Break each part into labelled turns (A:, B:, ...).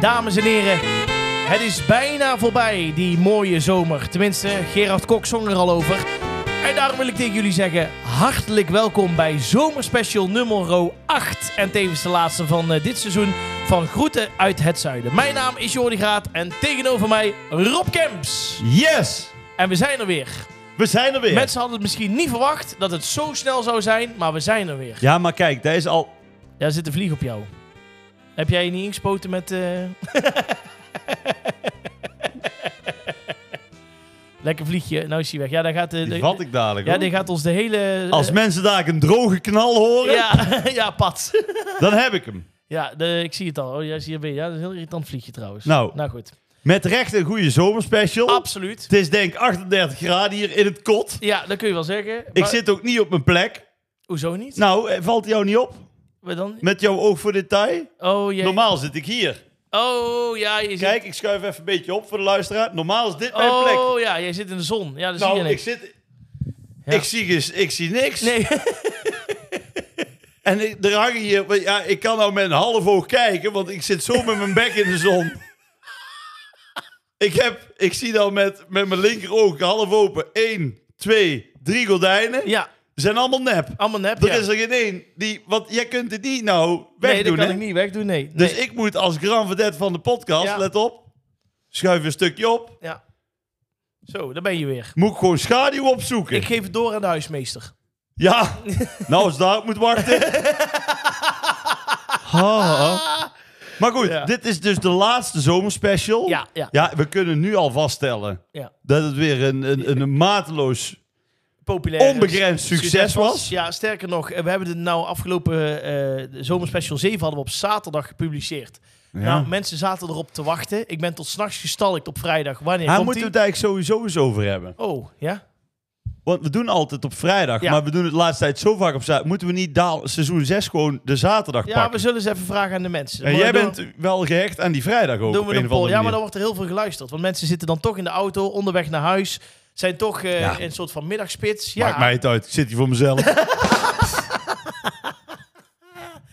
A: Dames en heren, het is bijna voorbij, die mooie zomer. Tenminste, Gerard Kok zong er al over. En daarom wil ik tegen jullie zeggen, hartelijk welkom bij zomerspecial nummer 8. En tevens de laatste van eh, dit seizoen van Groeten uit het Zuiden. Mijn naam is Jordi Graat en tegenover mij Rob Kemps.
B: Yes!
A: En we zijn er weer.
B: We zijn er weer.
A: Mensen hadden het misschien niet verwacht dat het zo snel zou zijn, maar we zijn er weer.
B: Ja, maar kijk, daar is al...
A: Ja, er zit een vlieg op jou. Heb jij je niet ingespoten met... eh, Lekker vliegje, nou is hij weg. Ja, daar gaat, eh,
B: Die
A: de-
B: vat ik dadelijk,
A: ja,
B: hoor.
A: die gaat ons de hele...
B: Als
A: eh,
B: mensen daar een droge knal horen,
A: ja, ja, pat.
B: dan heb ik hem.
A: Ja, de, ik zie het al. Oh, jij is hier weer. Ja, dat is een heel irritant vliegje trouwens.
B: Nou.
A: Nou goed.
B: Met recht een goede zomerspecial.
A: Absoluut.
B: Het is denk ik 38 graden hier in het kot.
A: Ja, dat kun je wel zeggen.
B: Ik
A: Maar-
B: zit ook niet op mijn plek.
A: Hoezo niet?
B: Nou, eh, valt jou niet op?
A: Maar dan...
B: Met jouw oog voor detail?
A: Oh, jee.
B: Normaal zit ik hier.
A: Oh, ja, je zit...
B: Kijk, ik schuif even een beetje op voor de luisteraar. Normaal is dit mijn plek.
A: Oh, ja, jij zit in de zon. Ja, dat zie
B: Nou,
A: je
B: ik
A: niks.
B: zit...
A: Ja.
B: Ik, zie, ges- ik zie niks.
A: Nee.
B: En ik- er hangen hier... Ja, ik kan nou met een half oog kijken, want ik zit zo met mijn bek in de zon. Ik, heb, ik zie nou met, met mijn linker oog half open. Eén, twee, drie gordijnen.
A: ja,
B: Zijn allemaal nep.
A: allemaal nep.
B: Er
A: ja.
B: is er geen één die... Want jij kunt het niet nou
A: nee,
B: wegdoen,
A: dat kan
B: hè?
A: ik niet wegdoen, nee.
B: Dus
A: Nee.
B: ik moet als grand vedette van de podcast,
A: Ja.
B: let op, schuif een stukje op.
A: Ja. Zo, daar ben je weer.
B: Moet ik gewoon schaduw opzoeken.
A: Ik geef het door aan de huismeester.
B: Ja, nou als daarop moet wachten. Ha. Maar goed,
A: Ja.
B: dit is dus de laatste zomerspecial.
A: Ja, ja.
B: we kunnen nu al vaststellen
A: Ja.
B: dat het weer een, een, een mateloos...
A: Populair. eh,
B: Onbegrensd succes was.
A: Ja, sterker nog, eh, we hebben de nou afgelopen eh, de zomerspecial 7 hadden we op zaterdag gepubliceerd. Nou, mensen zaten erop te wachten. Ik ben tot s'nachts gestalkt op vrijdag. Wanneer
B: Daar
A: komt
B: moeten we
A: die?
B: het eigenlijk sowieso eens over hebben.
A: Oh, ja?
B: Want we doen altijd op vrijdag,
A: Ja.
B: maar we doen het de laatste tijd zo vaak op zaterdag. Moeten we niet daal, seizoen 6 gewoon de zaterdag
A: Ja, we
B: pakken?
A: zullen eens even vragen aan de mensen.
B: en
A: Maar
B: jij
A: doen-
B: bent wel gehecht aan die vrijdag ook
A: Doen
B: op
A: we
B: een
A: een
B: of
A: poll.
B: andere
A: Ja, maar
B: manier.
A: dan wordt er heel veel geluisterd. Want mensen zitten dan toch in de auto, onderweg naar huis. Zijn toch eh,
B: Ja.
A: een soort van middagspits.
B: Maakt
A: Ja.
B: mij het uit. Ik zit hier voor mezelf.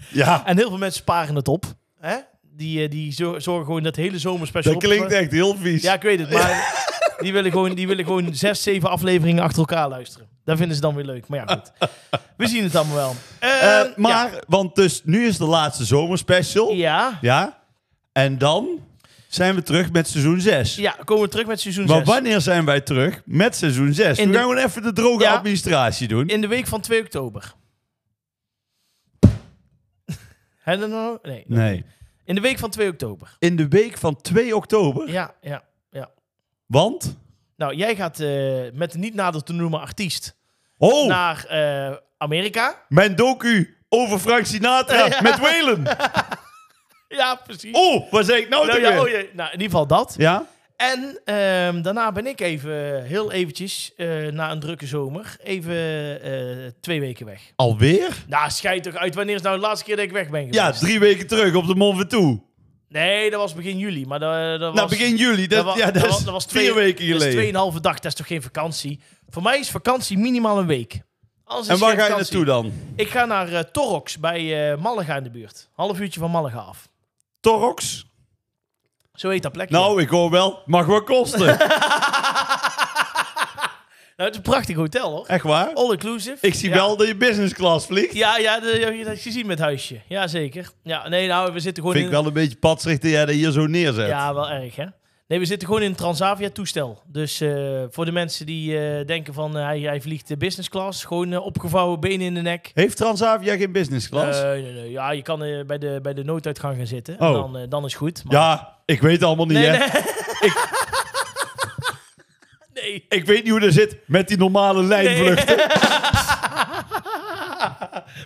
B: ja,
A: En heel veel mensen sparen het op. Hè? Die, eh, die zo- zorgen gewoon dat hele zomerspecial
B: dat klinkt
A: op.
B: echt heel vies.
A: eh, Ja, ik weet het. Maar die, willen gewoon, die willen gewoon zes, zeven afleveringen achter elkaar luisteren. Dat vinden ze dan weer leuk. Maar ja, goed. We zien het allemaal wel. Eh,
B: Eh, maar, want dus nu is de laatste zomerspecial.
A: Ja. ja.
B: Ja. En dan zijn we terug met seizoen 6.
A: Ja, komen we terug met seizoen
B: Maar
A: 6.
B: wanneer zijn wij terug met seizoen 6?
A: In
B: we
A: de-
B: gaan gewoon even de droge
A: Ja.
B: administratie doen.
A: In de week van 2 oktober. Hè, dan nou? Nee.
B: Nee.
A: In de week van 2 oktober.
B: In de week van 2 oktober.
A: Ja, ja, ja.
B: Want?
A: Nou, jij gaat eh, met de niet nader te noemen artiest
B: Oh,
A: naar eh, Amerika.
B: mijn docu over Frank Sinatra met Whalen.
A: Ja, precies.
B: Oh, waar zeg ik nou,
A: nou,
B: toch weer?
A: ja, oh, ja. nou, in ieder geval dat.
B: ja?
A: En ehm, daarna ben ik even, eh, heel eventjes, eh, na een drukke zomer, even eh, twee weken weg.
B: Alweer?
A: Nou, scheid toch uit. Wanneer is nou de laatste keer dat ik weg ben geweest?
B: Ja, drie weken terug op de Mont Ventoux.
A: Nee, dat was begin juli. Maar dat, dat
B: Nou,
A: was,
B: begin juli. Dat,
A: wa-
B: ja, dat,
A: wa-
B: is
A: was
B: vier
A: twee-
B: weken
A: Dat is
B: geleden.
A: tweeënhalve dag. Dat is toch geen vakantie? Voor mij is vakantie minimaal een week. Anders is
B: en waar
A: geen
B: ga je
A: vakantie.
B: naartoe dan?
A: Ik ga naar eh, Torrox bij eh Malaga in de buurt. Half uurtje van Malaga af.
B: Torrox?
A: Zo heet dat plekje.
B: Nou, ik hoor wel, mag wat kosten.
A: Nou, het is een prachtig hotel hoor.
B: Echt waar?
A: All inclusive.
B: Eh, Ik zie
A: Ja.
B: wel dat je business class vliegt.
A: Ja, ja, de, heb je dat gezien met huisje. Ja, zeker. Ja, nee, nou, we zitten gewoon
B: Vind ik
A: in...
B: wel een beetje patserig dat jij dat hier zo neerzet.
A: Ja, wel erg, hè? Nee, we zitten gewoon in een Transavia-toestel. Dus eh, voor de mensen die eh, denken van eh, hij, hij vliegt de business class, gewoon eh, opgevouwen benen in de nek. Eh,
B: Heeft Transavia geen business class?
A: Nee, nee, nee. Ja, je kan eh, bij, de, bij de nooduitgang gaan zitten. En
B: Oh.
A: dan, eh, dan is goed. maar-
B: ja, ik weet het allemaal niet,
A: Nee,
B: hè.
A: nee. nee.
B: Ik weet niet hoe dat zit met die normale lijnvluchten.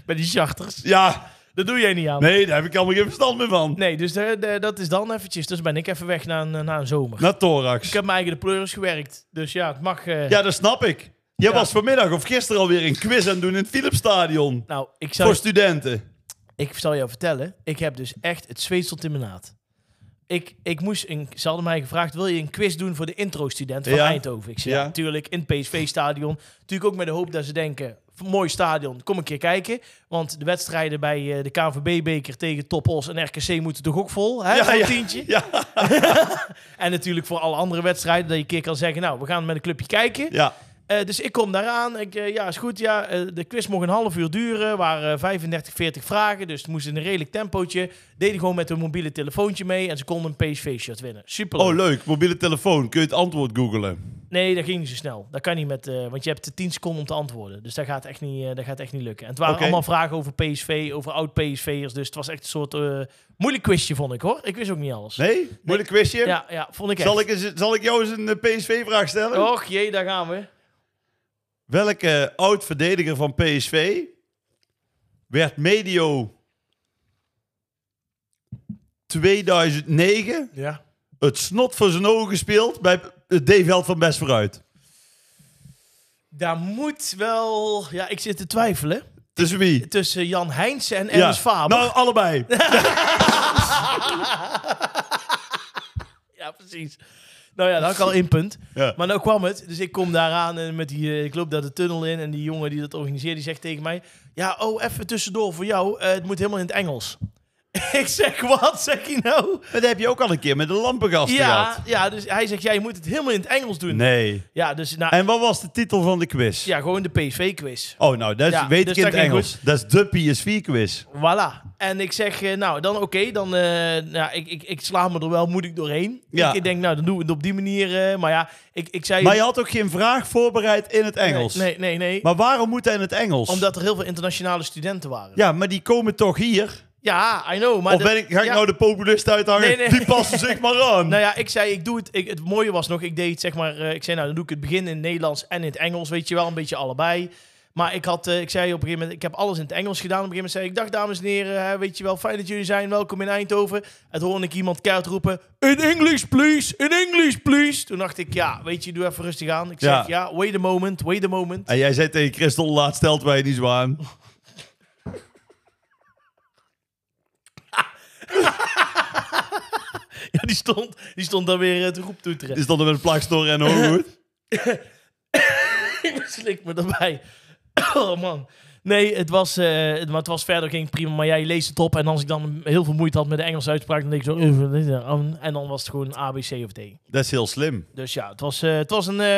A: Bij die charters.
B: Ja,
A: Dat doe jij niet aan. Nee,
B: nee, daar heb ik allemaal geen verstand meer van.
A: dus eh, de- dat is dan eventjes. Dus ben ik even weg naar een, naar een zomer.
B: Naar Thorax.
A: Ik heb mijn eigen de pleuris gewerkt. Dus ja, het mag... eh,
B: Ja, dat snap ik. Jij
A: Ja.
B: was vanmiddag of gisteren alweer een quiz aan het doen in het Philipsstadion.
A: Nou, ik zal,
B: Voor studenten.
A: ik zal jou vertellen. Ik heb dus echt het zweet stond in mijn naad. Ik, ik moest een, ze hadden mij gevraagd, wil je een quiz doen voor de intro-student van
B: Ja.
A: Eindhoven? Ik zei,
B: Ja.
A: ja, natuurlijk, in het PSV-stadion. Natuurlijk ook met de hoop dat ze denken, mooi stadion, kom een keer kijken. Want de wedstrijden bij eh, de KNVB-beker tegen Topos en RKC moeten toch ook vol, hè,
B: Ja,
A: voor een
B: ja.
A: tientje?
B: Ja,
A: En natuurlijk voor alle andere wedstrijden, dat je een keer kan zeggen, nou, we gaan met een clubje kijken.
B: ja.
A: Eh, dus ik kom daaraan. Ik, eh, ja, is goed. Ja, eh, de quiz mocht een half uur duren. Er waren eh, 35, 40 vragen. Dus het moest in een redelijk tempootje. Deden gewoon met hun mobiele telefoontje mee. En ze konden een PSV-shirt winnen. Super.
B: Oh, leuk. Mobiele telefoon. Kun je het antwoord googlen?
A: Nee, dat ging niet zo snel. Dat kan niet met... eh, want je hebt 10 seconden om te antwoorden. Dus dat gaat echt niet, eh, dat gaat echt niet lukken. En het waren
B: Oké.
A: allemaal vragen over PSV, over oud-PSV'ers. Dus het was echt een soort eh, moeilijk quizje, vond ik, hoor. Ik wist ook niet alles.
B: Nee? Moeilijk quizje?
A: Ja, ja, vond ik echt.
B: Zal ik, eens, zal ik jou eens een eh, PSV-vraag stellen?
A: Och jee, daar gaan we.
B: Welke oud-verdediger van PSV werd medio 2009
A: Ja.
B: het snot voor zijn ogen gespeeld bij het D-veld van Best vooruit?
A: Daar moet wel... Ja, ik zit te twijfelen.
B: Tussen wie?
A: Tussen Jan Heinsen en Ernst Faber.
B: Nou, allebei.
A: Ja, precies. Nou ja, dat had ik al één punt.
B: Ja.
A: Maar nou kwam het. Dus ik kom daaraan en met die, eh, ik loop daar de tunnel in. En die jongen die dat organiseert, die zegt tegen mij... Ja, oh, even tussendoor voor jou. eh, het moet helemaal in het Engels. ik zeg, wat zeg je nou?
B: Maar dat heb je ook al een keer met de lampengast
A: Ja,
B: gehad.
A: ja, dus hij zegt, ja, je moet het helemaal in het Engels doen.
B: Nee.
A: Ja, dus nou,
B: En wat was de titel van de quiz?
A: ja, gewoon de PSV-quiz.
B: Oh, nou, dat is-
A: Ja,
B: weet
A: dus
B: ik in
A: dat
B: het
A: ging
B: Engels. Dat is de PSV-quiz.
A: Voilà. En ik zeg, eh, nou, dan oké, dan, eh, nou, ik, ik, ik sla me er wel moeilijk doorheen.
B: Ja.
A: Ik, ik denk, nou, dan doen we het op die manier. eh, maar ja, ik, ik zei...
B: Maar je had ook geen vraag voorbereid in het Engels.
A: Nee, nee, nee.
B: Maar waarom moet hij in het Engels?
A: Omdat er heel veel internationale studenten waren.
B: Ja, maar die komen toch hier?
A: Ja, I know. Maar
B: of
A: de-
B: ben ik, ga ik
A: ja.
B: nou de populist uithangen?
A: Nee, nee.
B: Die passen zich maar aan.
A: Nou ja, ik zei, ik doe het. Ik, het mooie was nog, ik deed het zeg maar. eh, ik zei, nou, dan doe ik het begin in het Nederlands en in het Engels. Weet je wel, een beetje allebei. Maar ik had, eh, ik zei op een gegeven moment, ik heb alles in het Engels gedaan. Op een gegeven moment zei ik, dag dames en heren, hè, weet je wel, fijn dat jullie zijn. Welkom in Eindhoven. En toen hoorde ik iemand keihard roepen, in English please, in English please. Toen dacht ik, ja, weet je, doe even rustig aan. Ik
B: Ja.
A: zeg, ja, wait a moment, wait a moment.
B: En jij zei tegen Christel, laat stelt wij niet zo aan.
A: Ja, die stond, die stond dan weer eh, te roep toeteren.
B: Die stonden met een plakstoor en hooghoed.
A: ik slik me erbij. Oh man. Nee, het was, eh, het, maar het was verder ging het prima. Maar jij leest het op. En als ik dan heel veel moeite had met de Engelse uitspraak, dan denk ik zo. eh, Oh, En dan was het gewoon A, B, C of D.
B: Dat is heel slim.
A: Dus ja, het was, eh, het was een, eh,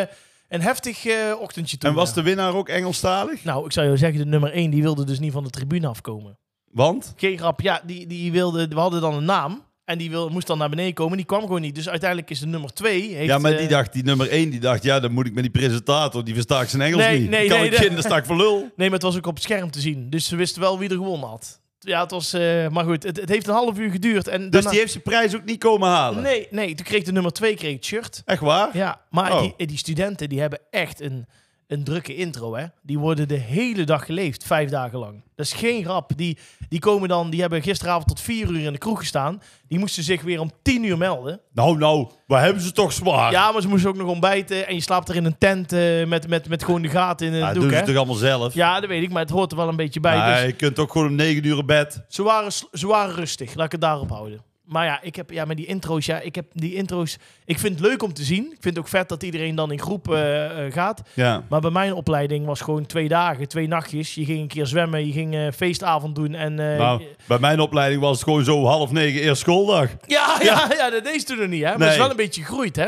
A: een heftig eh, ochtendje toen.
B: En was
A: ja.
B: de winnaar ook Engelstalig?
A: Nou, ik zou jou zeggen, de nummer 1 die wilde dus niet van de tribune afkomen.
B: Want?
A: Geen grap, ja, die, die wilde, we hadden dan een naam. En die wil, moest dan naar beneden komen. Die kwam gewoon niet. Dus uiteindelijk is de nummer 2. heeft,
B: ja, maar
A: eh,
B: die dacht, die nummer één, die dacht, ja, dan moet ik met die presentator, die versta ik zijn Engels
A: Nee,
B: niet.
A: nee,
B: Die kan
A: nee,
B: ik
A: dat-
B: kind, sta ik voor lul.
A: Nee, maar het was ook op het scherm te zien. Dus ze wisten wel wie er gewonnen had. Ja, het was... eh, maar goed, het, het heeft een half uur geduurd. En
B: Dus
A: daarna-
B: die heeft zijn prijs ook niet komen halen.
A: Nee, nee, toen kreeg de nummer twee kreeg het shirt.
B: Echt waar?
A: Ja, maar
B: Oh.
A: die, die studenten die hebben echt een, een drukke intro, hè. Die worden de hele dag geleefd, vijf dagen lang. Dat is geen grap. Die, die komen dan... Die hebben gisteravond tot vier uur in de kroeg gestaan. Die moesten zich weer om tien uur melden.
B: Nou, nou, waar hebben ze toch zwaar?
A: Ja, maar ze moesten ook nog ontbijten. En je slaapt er in een tent eh, met, met, met gewoon de gaten in het
B: Ja,
A: doek,
B: Ah, doen ze
A: hè.
B: toch allemaal zelf?
A: Ja, dat weet ik, maar het hoort er wel een beetje bij. dus-
B: Nee, je kunt ook gewoon om negen uur in bed.
A: Ze waren, sl- ze waren rustig, laat ik het daarop houden. Maar ja, ik heb ja, met die intro's, ja, ik heb die intro's. Ik vind het leuk om te zien. Ik vind het ook vet dat iedereen dan in groep eh, eh, gaat.
B: Ja.
A: Maar bij mijn opleiding was gewoon twee dagen, twee nachtjes. Je ging een keer zwemmen, je ging eh, feestavond doen en. eh,
B: Nou, bij mijn opleiding was het gewoon zo half negen eerst schooldag.
A: ja, ja, ja, dat deed ze toen nog niet, hè? Maar het is
B: Nee.
A: wel een beetje gegroeid, hè?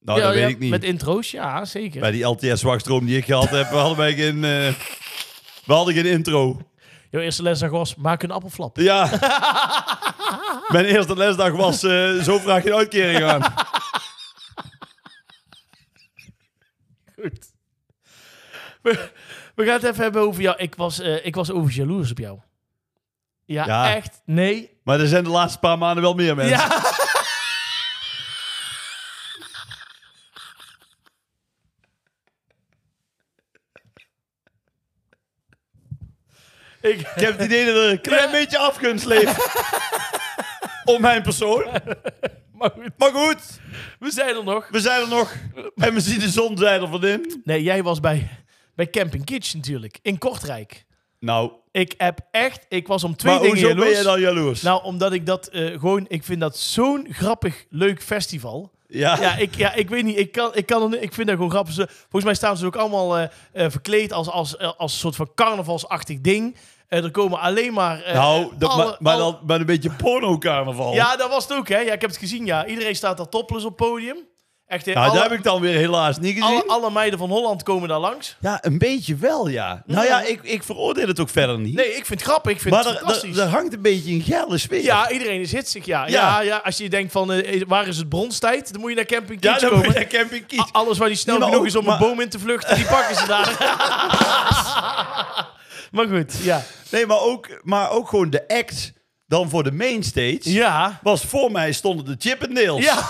B: Nou,
A: ja,
B: dat weet
A: ja,
B: ik niet.
A: Met intro's, ja, zeker.
B: Bij die LTS-wachtstroom die ik gehad heb, hadden wij geen, eh, we hadden geen intro.
A: Jouw eerste lesdag was: maak een appelflap.
B: Ja. Mijn eerste lesdag was eh, zo vraag je een uitkering aan.
A: Goed. We, we gaan het even hebben over jou. Ik was, eh, ik was overigens jaloers op jou. Ja,
B: Ja.
A: echt? Nee.
B: Maar er zijn de laatste paar maanden wel meer mensen.
A: Ja. ik,
B: Ik heb het idee dat er een klein beetje afgunst leeft. Om mijn persoon.
A: maar goed,
B: Maar goed,
A: we zijn er nog.
B: we zijn er nog. En we zien de zon zijn er van in.
A: Nee, jij was bij, bij Camping Kitchen natuurlijk, in Kortrijk.
B: Nou,
A: Ik heb echt... Ik was om twee
B: Maar
A: dingen
B: hoezo ben
A: jaloers.
B: je dan jaloers?
A: Nou, omdat ik dat eh, gewoon... Ik vind dat zo'n grappig, leuk festival.
B: ja.
A: Ja, ik, ja, ik weet niet. Ik, kan, ik, kan er, niet- ik vind dat gewoon grappig. Ze, volgens mij staan ze ook allemaal eh, eh, verkleed als, als, eh, als een soort van carnavalsachtig ding. Eh, er komen alleen maar... eh,
B: nou, dat,
A: alle-
B: maar, maar,
A: alle-
B: dan, maar een beetje Nou, porno-carnaval.
A: Ja, dat was het ook, hè? Ja, ik heb het gezien, ja. Iedereen staat daar topless op het podium. Echt, eh,
B: Nou,
A: alle,
B: dat heb ik dan weer helaas niet gezien.
A: alle, alle meiden van Holland komen daar langs.
B: Ja, een beetje wel, ja. Nou ja, ik, ik veroordeel het ook verder niet.
A: Nee, ik vind het grappig. Ik vind
B: maar
A: het
B: er,
A: fantastisch.
B: er- er hangt een beetje een gelle sfeer.
A: ja, iedereen is hitsig, ja. Ja.
B: Ja.
A: ja. als je denkt van, eh, waar is het bronstijd? Dan moet je naar Camping
B: ja
A: Kids
B: dan
A: komen.
B: ben je camping kiet.
A: A- Alles waar die snel
B: Ja, maar
A: genoeg
B: ook-
A: is om
B: maar-
A: een boom in te vluchten, die pakken ze daar. maar goed, ja.
B: Nee, maar ook, maar ook gewoon de act dan voor de mainstage.
A: Ja.
B: Was voor mij stonden de Chippendales.
A: Ja.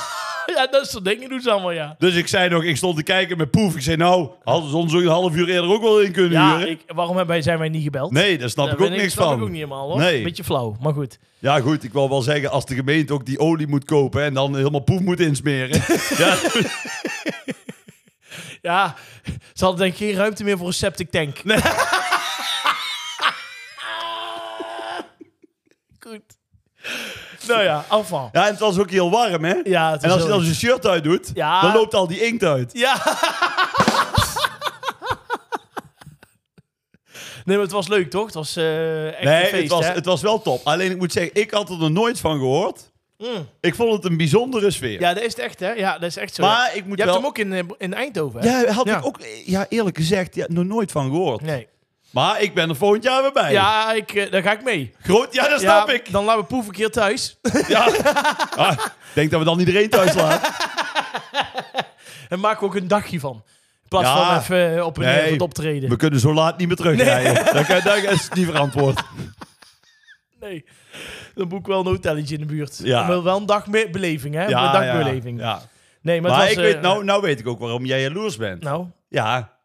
A: Ja, dat soort dingen doen ze allemaal, ja.
B: Dus ik zei nog, ik stond te kijken met Poef. Ik zei, nou, hadden ze ons ook een half uur eerder ook wel in kunnen
A: Ja,
B: huren.
A: ik, waarom hebben wij, zijn wij niet gebeld?
B: Nee, daar snap
A: Daar
B: ik ook
A: ben
B: niks
A: snap
B: van.
A: ik ook niet helemaal, hoor.
B: Nee.
A: Beetje flauw, maar goed.
B: Ja, goed, ik wil wel zeggen, als de gemeente ook die olie moet kopen en dan helemaal Poef moet insmeren. ja,
A: Ja, ze hadden denk ik geen ruimte meer voor een septic tank.
B: Nee.
A: Goed. Nou ja, afval.
B: ja, en het was ook heel warm, hè?
A: Ja, het
B: en
A: was
B: als je
A: heel
B: dan zijn shirt uit doet,
A: Ja.
B: dan loopt al die inkt uit.
A: Ja. Nee, maar het was leuk, toch? Het was eh, echt
B: Nee,
A: een feest,
B: het, was,
A: hè?
B: het was wel top. Alleen ik moet zeggen, ik had er nog nooit van gehoord.
A: Mm.
B: Ik vond het een bijzondere sfeer.
A: Ja, dat is het echt, hè? Ja, dat is echt zo. ja.
B: maar ik moet
A: Je hebt
B: wel...
A: hem ook in, eh, in Eindhoven, hè?
B: Ja, had
A: Ja.
B: ik ook, ja, eerlijk gezegd, ja, nog nooit van gehoord.
A: Nee.
B: Maar ik ben er volgend jaar weer bij.
A: Ja, ik, eh, daar ga ik mee.
B: Groot, ja dat
A: Ja,
B: snap ik.
A: Dan laten we Poef een keer thuis.
B: Ja. Ah, ik denk dat we dan iedereen thuis laten.
A: en maken we ook een dagje van. In plaats
B: Ja.
A: van even eh, op een
B: Nee.
A: eh, wat optreden.
B: We kunnen zo laat niet meer terugrijden. Dat, kan- dat is niet verantwoord.
A: Nee. Dan boek ik wel een hotelletje in de buurt.
B: Ja.
A: Maar wel een dagbeleving, hè? een dagbeleving.
B: ja.
A: Nee, maar,
B: Maar,
A: het was,
B: ik weet,
A: eh,
B: nou, nou weet ik ook waarom jij jaloers bent.
A: nou,
B: Ja.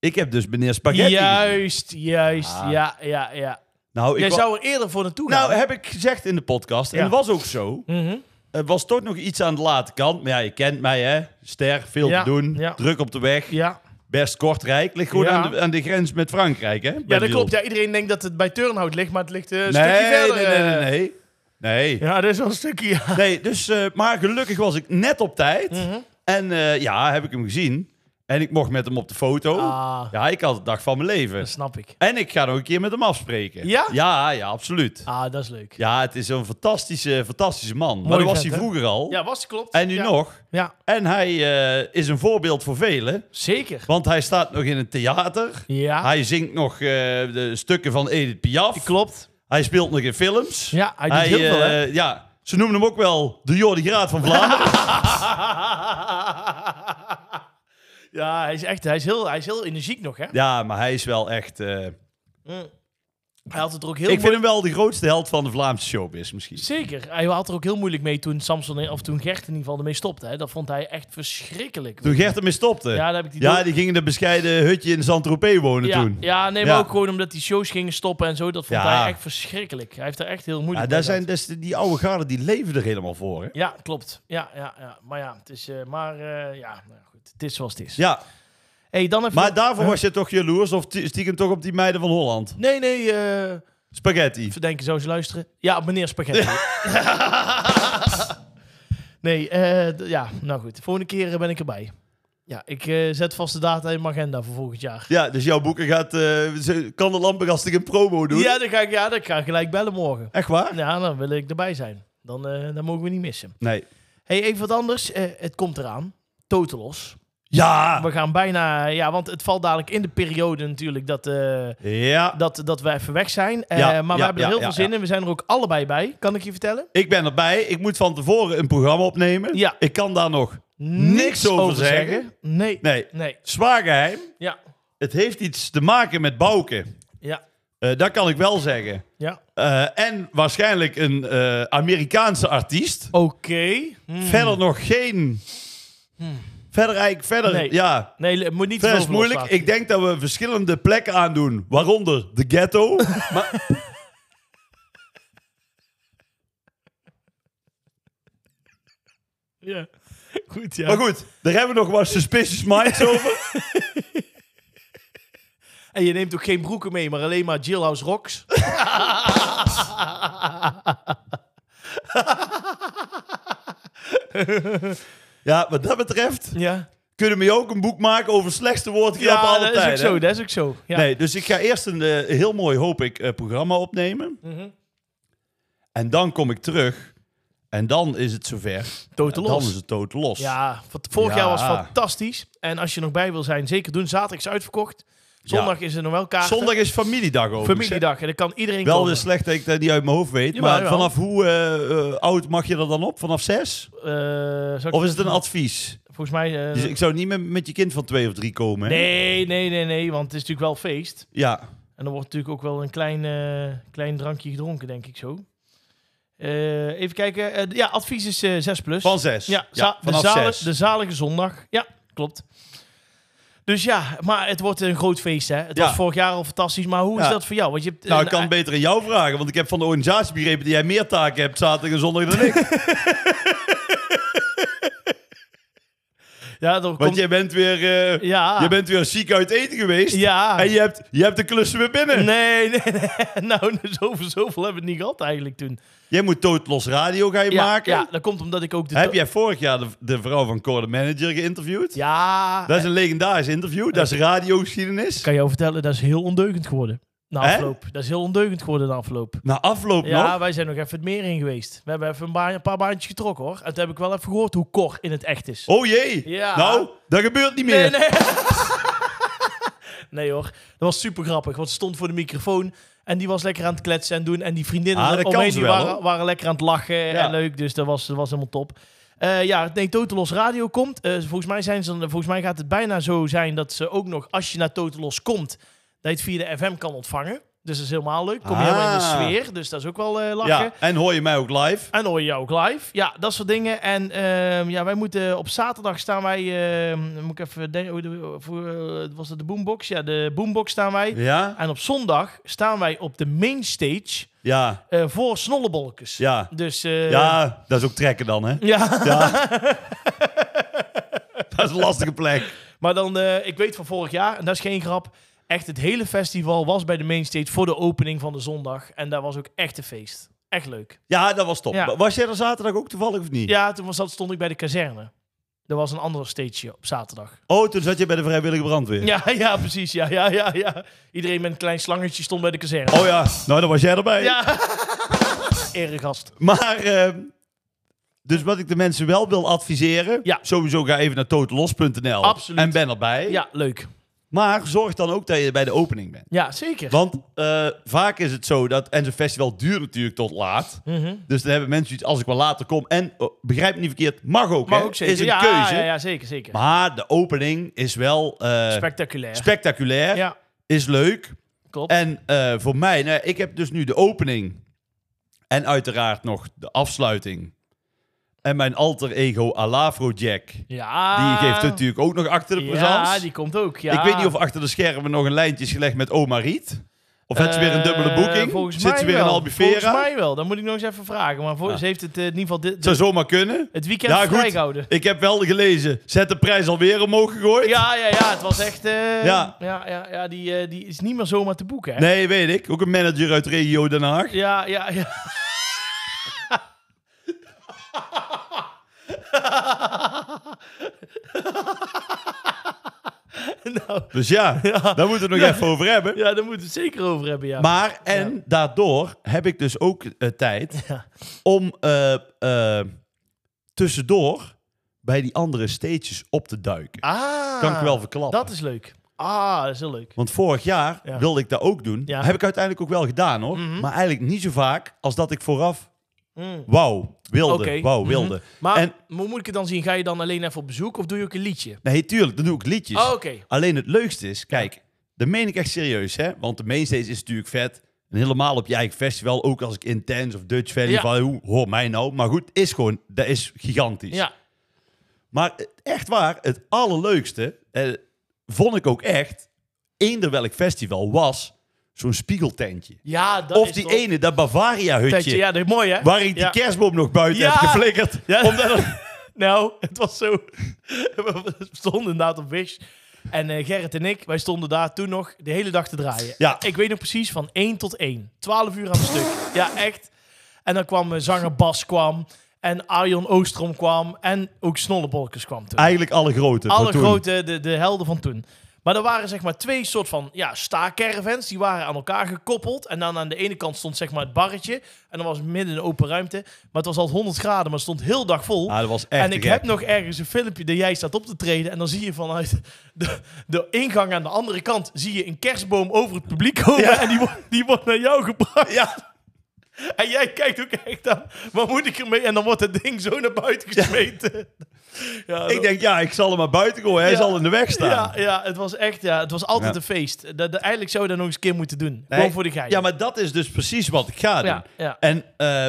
B: Ik heb dus meneer Spaghetti gezien.
A: juist, juist.
B: Ah.
A: Ja, ja, ja.
B: Nou, ik
A: Jij
B: wa-
A: zou er eerder voor naartoe gaan.
B: nou, heb ik gezegd in de podcast. En
A: Ja.
B: dat was ook zo.
A: Mhm.
B: Het was toch nog iets aan de late kant. Maar ja, je kent mij, hè. Ster, veel
A: Ja,
B: te doen.
A: ja.
B: Druk op de weg.
A: Ja,
B: Best kortrijk. Ligt gewoon
A: Ja.
B: aan, de, aan de grens met Frankrijk, hè.
A: ja dat
B: Berlioz.
A: klopt. Ja, iedereen denkt dat het bij Turnhout ligt, maar het ligt eh, een
B: Nee,
A: stukje verder.
B: nee, nee, nee,
A: eh.
B: nee. Nee.
A: Ja, dat is wel een stukje. Ja.
B: Nee, dus, eh, maar gelukkig was ik net op tijd.
A: Mhm.
B: En eh, ja, heb ik hem gezien. En ik mocht met hem op de foto.
A: Ah,
B: Ja, ik had de dag van mijn leven.
A: dat snap ik.
B: En ik ga nog een keer met hem afspreken.
A: Ja?
B: Ja, ja, absoluut.
A: Ah, dat is leuk. Ja,
B: Ja, het is een fantastische, fantastische man. maar
A: Mooi
B: dat was
A: vent,
B: hij
A: hè?
B: vroeger al.
A: was klopt.
B: En nu
A: Ja.
B: nog.
A: Ja,
B: En hij eh, is een voorbeeld voor velen.
A: zeker.
B: Want hij staat nog in het theater.
A: Ja,
B: Hij zingt nog eh, de stukken van Edith Piaf.
A: klopt.
B: Hij speelt nog in films.
A: Ja, hij doet heel veel, hè?
B: eh, ja, ze noemen hem ook wel de Jordi Graat van Vlaanderen.
A: ja, hij is echt hij is heel, hij is heel energiek nog, hè?
B: ja, maar hij is wel echt... eh,
A: Mm. Hij had het er ook heel
B: ik vind
A: moeilijk-
B: hem wel de grootste held van de Vlaamse showbiz misschien.
A: Zeker. Hij had er ook heel moeilijk mee toen Samson, of toen Gert in ieder geval ermee stopte. Hè? Dat vond hij echt verschrikkelijk.
B: Toen Gert ermee stopte.
A: ja, daar heb ik die
B: Ja, die gingen in een bescheiden hutje in Saint-Tropez wonen
A: ja,
B: toen.
A: ja, nee, maar
B: Ja.
A: ook gewoon omdat die shows gingen stoppen en zo. Dat vond
B: Ja.
A: hij echt verschrikkelijk. Hij heeft er echt heel
B: Ja,
A: moeilijk
B: daar
A: mee
B: zijn, dus die oude garden die leven er helemaal voor. Hè?
A: gehad. Ja, klopt. Ja, ja, ja. Maar ja, het is, eh, maar, eh, ja nou, ja, goed. het is zoals het is.
B: Ja,
A: Hey, dan even
B: maar daarvoor was je toch jaloers of tie- stiekem toch op die meiden van Holland?
A: Nee, nee, eh
B: Spaghetti.
A: verdenken zo eens luisteren. Ja, meneer Spaghetti. nee, eh, d- ja, nou goed. Volgende keer eh, ben ik erbij. Ja, ik eh, zet vast de data in mijn agenda voor volgend jaar.
B: Ja, dus jouw boeken gaat... eh, ze- kan de lampengast een promo doen?
A: Ja, dan ga ik, ja, dan ga ik gelijk bellen morgen.
B: Echt waar?
A: Ja, dan wil ik erbij zijn. Dan, eh, dan mogen we niet missen.
B: Nee.
A: hey, even wat anders. Eh, het komt eraan. Totalos.
B: Ja!
A: We gaan bijna... Ja, want het valt dadelijk in de periode natuurlijk dat, eh,
B: Ja.
A: dat, dat we even weg zijn. Eh,
B: Ja,
A: maar we
B: ja,
A: hebben er
B: ja,
A: heel
B: ja,
A: veel zin
B: ja.
A: in. We zijn er ook allebei bij, kan ik je vertellen.
B: Ik ben erbij. Ik moet van tevoren een programma opnemen.
A: Ja.
B: Ik kan daar nog niks over, zeggen.
A: Nee.
B: Nee.
A: Nee.
B: Zwaar geheim.
A: Ja.
B: Het heeft iets te maken met Bouke.
A: Ja.
B: Eh, dat kan ik wel zeggen.
A: Ja.
B: Eh, en waarschijnlijk een eh, Amerikaanse artiest.
A: Oké. Hm.
B: Verder nog geen... Verder eigenlijk... Verder,
A: Nee.
B: ja...
A: Nee, le- moet niet te
B: Verder is
A: veel
B: moeilijk.
A: loslaten.
B: Ik denk dat we verschillende plekken aandoen. Waaronder de ghetto. maar,
A: Ja. Goed, ja.
B: maar goed, daar hebben we nog wat suspicious minds over.
A: En je neemt ook geen broeken mee, maar alleen maar Jailhouse Rocks.
B: Ja, wat dat betreft
A: Ja,
B: kunnen we ook een boek maken over slechtste woordgrappen
A: ja
B: alle
A: dat is
B: tijden.
A: ook zo. Dat is ook zo. Ja.
B: Nee, dus ik ga eerst een eh, heel mooi, hoop ik, eh, programma opnemen.
A: Mhm.
B: En dan kom ik terug. En dan is het zover.
A: Dood
B: En
A: los.
B: dan is het dood los.
A: Ja, wat- vorig
B: Ja.
A: jaar was fantastisch. En als je er nog bij wil zijn, zeker doen. Zaterdag is uitverkocht. Zondag is er nog wel kaarten.
B: Zondag is familiedag over.
A: Familiedag. En dan kan iedereen
B: Wel dus-
A: komen.
B: weer slecht dat ik dat niet uit mijn hoofd weet.
A: Jawel,
B: maar
A: jawel.
B: vanaf hoe eh, eh, oud mag je er dan op? Vanaf zes?
A: Eh, zou ik-
B: Of is het een advies?
A: Volgens mij... eh,
B: Dus ik zou niet met, met je kind van twee of drie komen. Hè?
A: nee, nee, nee, nee. Want het is natuurlijk wel feest.
B: Ja.
A: En er wordt natuurlijk ook wel een klein, eh, klein drankje gedronken, denk ik zo. Eh, even kijken. Eh, ja, advies is eh 6 plus.
B: Van zes.
A: ja, za-
B: vanaf
A: de, zalig,
B: zes.
A: de zalige zondag. Ja, klopt. Dus ja, maar het wordt een groot feest, hè? Het
B: Ja.
A: was vorig jaar al fantastisch, maar hoe is
B: Ja.
A: dat voor jou? Want je hebt
B: Nou,
A: een-
B: ik kan het beter aan jou vragen, want ik heb van de organisatie begrepen dat jij meer taken hebt zaterdag en zondag dan ik.
A: Ja, er komt-
B: Want jij bent weer, eh,
A: ja.
B: jij bent weer ziek uit eten geweest.
A: ja.
B: En je hebt, je hebt de klussen weer binnen.
A: Nee, nee, nee. Nou, dus over zoveel hebben we het niet gehad eigenlijk toen.
B: Jij moet Tootlos Radio gaan je
A: ja,
B: maken.
A: ja, dat komt omdat ik ook de...
B: Heb jij vorig jaar de, de vrouw van Cor de Manager geïnterviewd?
A: Ja,
B: Dat is een legendarisch interview. Dat is radiogeschiedenis.
A: kan jou vertellen, dat is heel ondeugend geworden. Na
B: Hè?
A: afloop. Dat is heel ondeugend geworden na afloop.
B: Na afloop
A: Ja,
B: nog.
A: wij zijn nog even het meer in geweest. We hebben even een, baan- een paar baantjes getrokken hoor. En toen heb ik wel even gehoord hoe Cor in het echt is.
B: Oh jee.
A: Ja.
B: Nou, dat gebeurt niet
A: nee,
B: meer.
A: nee. nee hoor, dat was super grappig. Want ze stond voor de microfoon en die was lekker aan het kletsen en doen. En die vriendinnen
B: Ah, dat kan
A: omheen
B: ze
A: die
B: wel,
A: waren,
B: hoor.
A: waren lekker aan het lachen en
B: Ja.
A: leuk. Dus dat was, dat was helemaal top. Eh, ja, nee, Totalos Radio komt. Eh, volgens, mij zijn ze, volgens mij gaat het bijna zo zijn dat ze ook nog, als je naar Totalos komt, dat je het via de FM kan ontvangen. Dus dat is helemaal leuk. Kom je helemaal in de
B: Ah.
A: sfeer. Dus dat is ook wel eh, lachen.
B: Ja, en hoor je mij ook live?
A: En dan hoor je jou ook live. Ja, dat soort dingen. En ehm, ja, wij moeten op zaterdag staan wij. ehm, dan moet ik even denken. hoe de- of hoe, eh, was dat de boombox? Ja, de boombox staan wij.
B: Ja,
A: En op zondag staan wij op de main stage
B: ja,
A: eh, voor snollebolkes.
B: ja.
A: Dus. eh,
B: Ja, dat is ook trekken dan, hè?
A: Ja.
B: Dat is een lastige plek.
A: maar dan, eh, ik weet van vorig jaar, en dat is geen grap. Echt, het hele festival was bij de main stage voor de opening van de zondag. En daar was ook echt een feest. Echt leuk.
B: Ja, dat was top.
A: Ja.
B: Was jij er zaterdag ook toevallig of niet?
A: Ja, toen was dat, stond ik bij de kazerne. Er was een andere stage op zaterdag.
B: Oh, toen zat je bij de vrijwillige brandweer.
A: Ja, ja, precies. Ja, ja, ja, ja. Iedereen met een klein slangetje stond bij de kazerne.
B: Oh ja, nou dan was jij erbij.
A: Ja. Eregast.
B: Maar, ehm, dus wat ik de mensen wel wil adviseren...
A: Ja.
B: Sowieso ga even naar totalos.nl.
A: Absoluut.
B: En ben erbij.
A: Ja, leuk.
B: Maar zorg dan ook dat je bij de opening bent.
A: Ja, zeker.
B: Want eh, vaak is het zo dat... En zo'n festival duurt natuurlijk tot laat.
A: Mhm.
B: Dus dan hebben mensen iets als ik wel later kom. En oh, begrijp me niet verkeerd, mag ook.
A: Maar
B: hè?
A: ook zeker.
B: Is een
A: ja,
B: keuze.
A: Ja, ja, zeker, zeker.
B: Maar de opening is wel eh,
A: Spectaculair.
B: spectaculair.
A: ja,
B: Is leuk.
A: klopt.
B: En eh, voor mij, nou, ik heb dus nu de opening. En uiteraard nog de afsluiting. En mijn alter ego Alafro Jack. Die
A: ja.
B: geeft natuurlijk ook nog achter de présence.
A: Ah. Ja, die komt ook. Ja.
B: Ik weet niet of achter de schermen nog een lijntje is gelegd met Oma Riet. Of hebben ze weer een dubbele
A: Eh,
B: boeking?
A: volgens
B: Zitten
A: mij
B: ze weer
A: wel.
B: in Albufeira?
A: Volgens mij wel. Dan moet ik nog eens even vragen. Maar voor,
B: Ja.
A: ze heeft het eh, in ieder geval dit,
B: Zou zomaar kunnen.
A: het weekend
B: Ja, goed.
A: vrijgehouden.
B: Ik heb wel gelezen. Zet de prijs alweer omhoog gegooid.
A: Ja, ja, ja. Het was echt... eh, ja.
B: Ja.
A: Ja, ja, die, eh, die is niet meer zomaar te boeken, hè?
B: Nee, weet ik. Ook een manager uit regio Den Haag.
A: Ja, ja, ja. nou,
B: Dus ja, daar moeten we het nog even over hebben.
A: ja, daar moeten we het zeker over hebben, ja.
B: Maar en daardoor heb ik dus ook eh, tijd
A: Ja.
B: om eh, eh, tussendoor bij die andere stages op te duiken.
A: ah,
B: kan ik wel verklappen.
A: Dat is leuk. Ah, dat is heel leuk.
B: Want vorig jaar
A: Ja.
B: wilde ik dat ook doen.
A: Ja.
B: Heb ik uiteindelijk ook wel gedaan hoor.
A: Mhm.
B: Maar eigenlijk niet zo vaak als dat ik vooraf
A: Mm.
B: wauw wilde.
A: Oké. Mhm.
B: Wauw wilde.
A: Maar
B: En-
A: hoe moet ik het dan zien? Ga je dan alleen even op bezoek of doe je ook een liedje?
B: Nee, tuurlijk, dan doe ik liedjes.
A: Oh, oké.
B: Alleen het leukste is, kijk, dat meen ik echt serieus, hè? Want de mainstage is natuurlijk vet. En helemaal op je eigen festival, ook als ik Intense of Dutch Valley,
A: Ja.
B: van, hoe, hoor mij nou. Maar goed, is gewoon, dat is gigantisch.
A: Ja.
B: Maar echt waar, het allerleukste, eh, vond ik ook echt, eender welk festival was, zo'n spiegeltentje.
A: Ja, dat
B: Of
A: is
B: die
A: toch-
B: ene, dat Bavaria-hutje,
A: Ja, dat is mooi, hè?
B: waar ik die
A: Ja.
B: kerstboom nog buiten
A: Ja.
B: heb geflikkerd.
A: Ja.
B: Omdat er-
A: Nou, het was zo. We stonden inderdaad op Wish. En eh, Gerrit en ik, wij stonden daar toen nog de hele dag te draaien.
B: Ja.
A: Ik weet nog precies van 1 tot 1. 12 uur aan een stuk. Ja, echt. En dan kwam eh, zanger Bas kwam. En Arjon Oostrom kwam. En ook Snollebolkes kwam toen.
B: Eigenlijk alle grote. van
A: Alle
B: toen.
A: grote, de, de helden van toen. Maar er waren zeg maar twee soort van ja, staakcaravans. Die waren aan elkaar gekoppeld. En dan aan de ene kant stond zeg maar het barretje. En dan was het midden een open ruimte. Maar het was al 100 graden, maar het stond heel dag vol.
B: Ah, dat was echt
A: en ik
B: te
A: heb
B: gek.
A: nog ergens een filmpje dat jij staat op te treden. En dan zie je vanuit de, de ingang aan de andere kant... zie je een kerstboom over het publiek komen.
B: Ja.
A: En die, wordt- die wordt naar jou gebracht.
B: Ja,
A: En jij kijkt ook echt aan, wat moet ik ermee? En dan wordt het ding zo naar buiten gesmeten. Ja, dat-
B: ik denk, ja, ik zal hem maar buiten gooien. Hij
A: Ja.
B: zal in de weg staan.
A: ja, ja, het was echt, ja, het was altijd
B: Ja.
A: een feest. Dat, dat- eigenlijk zou je dat nog eens een keer moeten doen.
B: Nee.
A: Gewoon voor de gein.
B: Ja, maar dat is dus precies wat ik ga doen.
A: ja, ja.
B: En eh,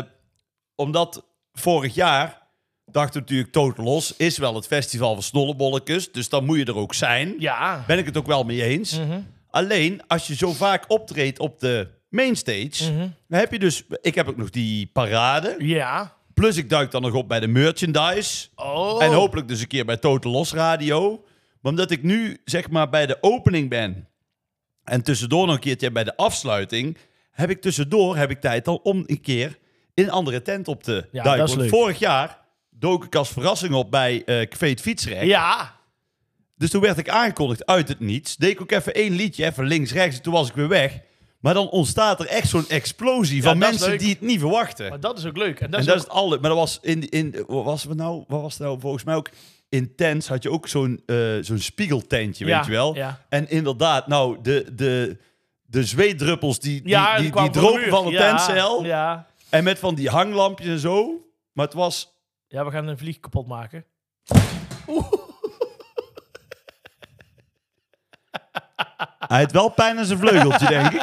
B: omdat vorig jaar dacht ik natuurlijk Total Los is wel het festival van snollebolletjes. Dus dan moet je er ook zijn.
A: ja.
B: Ben ik het ook wel mee eens.
A: Mhm.
B: Alleen als je zo vaak optreedt op de mainstage,
A: Mhm.
B: dan heb je dus. Ik heb ook nog die parade.
A: Ja.
B: Plus ik duik dan nog op bij de merchandise.
A: Oh.
B: En hopelijk dus een keer bij Total Los Radio. Maar omdat ik nu zeg maar bij de opening ben en tussendoor nog een keertje bij de afsluiting, heb ik tussendoor heb ik tijd dan om een keer in een andere tent op te
A: Ja,
B: duiken.
A: dat is
B: Want
A: leuk.
B: vorig jaar dook ik als verrassing op bij eh Café het Fietsrek.
A: Ja.
B: Dus toen werd ik aangekondigd uit het niets. Deed ik ook even één liedje, even links, rechts. En toen was ik weer weg. Maar dan ontstaat er echt zo'n explosie van
A: dat is
B: mensen
A: leuk.
B: die het niet verwachten.
A: Maar dat is ook leuk. En dat
B: En
A: is
B: dat
A: ook-
B: is het alle. Maar dat was in, in wat was het nou? Wat was het nou? Volgens mij ook intens had je ook zo'n eh, zo'n spiegeltentje,
A: Ja,
B: weet je wel?
A: ja.
B: En inderdaad, nou de de de zweetdruppels die die,
A: ja,
B: die,
A: dat
B: die
A: kwam voor de
B: dropen
A: muur.
B: van de
A: Ja,
B: tentcel
A: Ja.
B: en met van die hanglampjes en zo. Maar het was
A: Ja, we gaan een vlieg kapot maken.
B: hij had wel pijn aan zijn vleugeltje denk ik.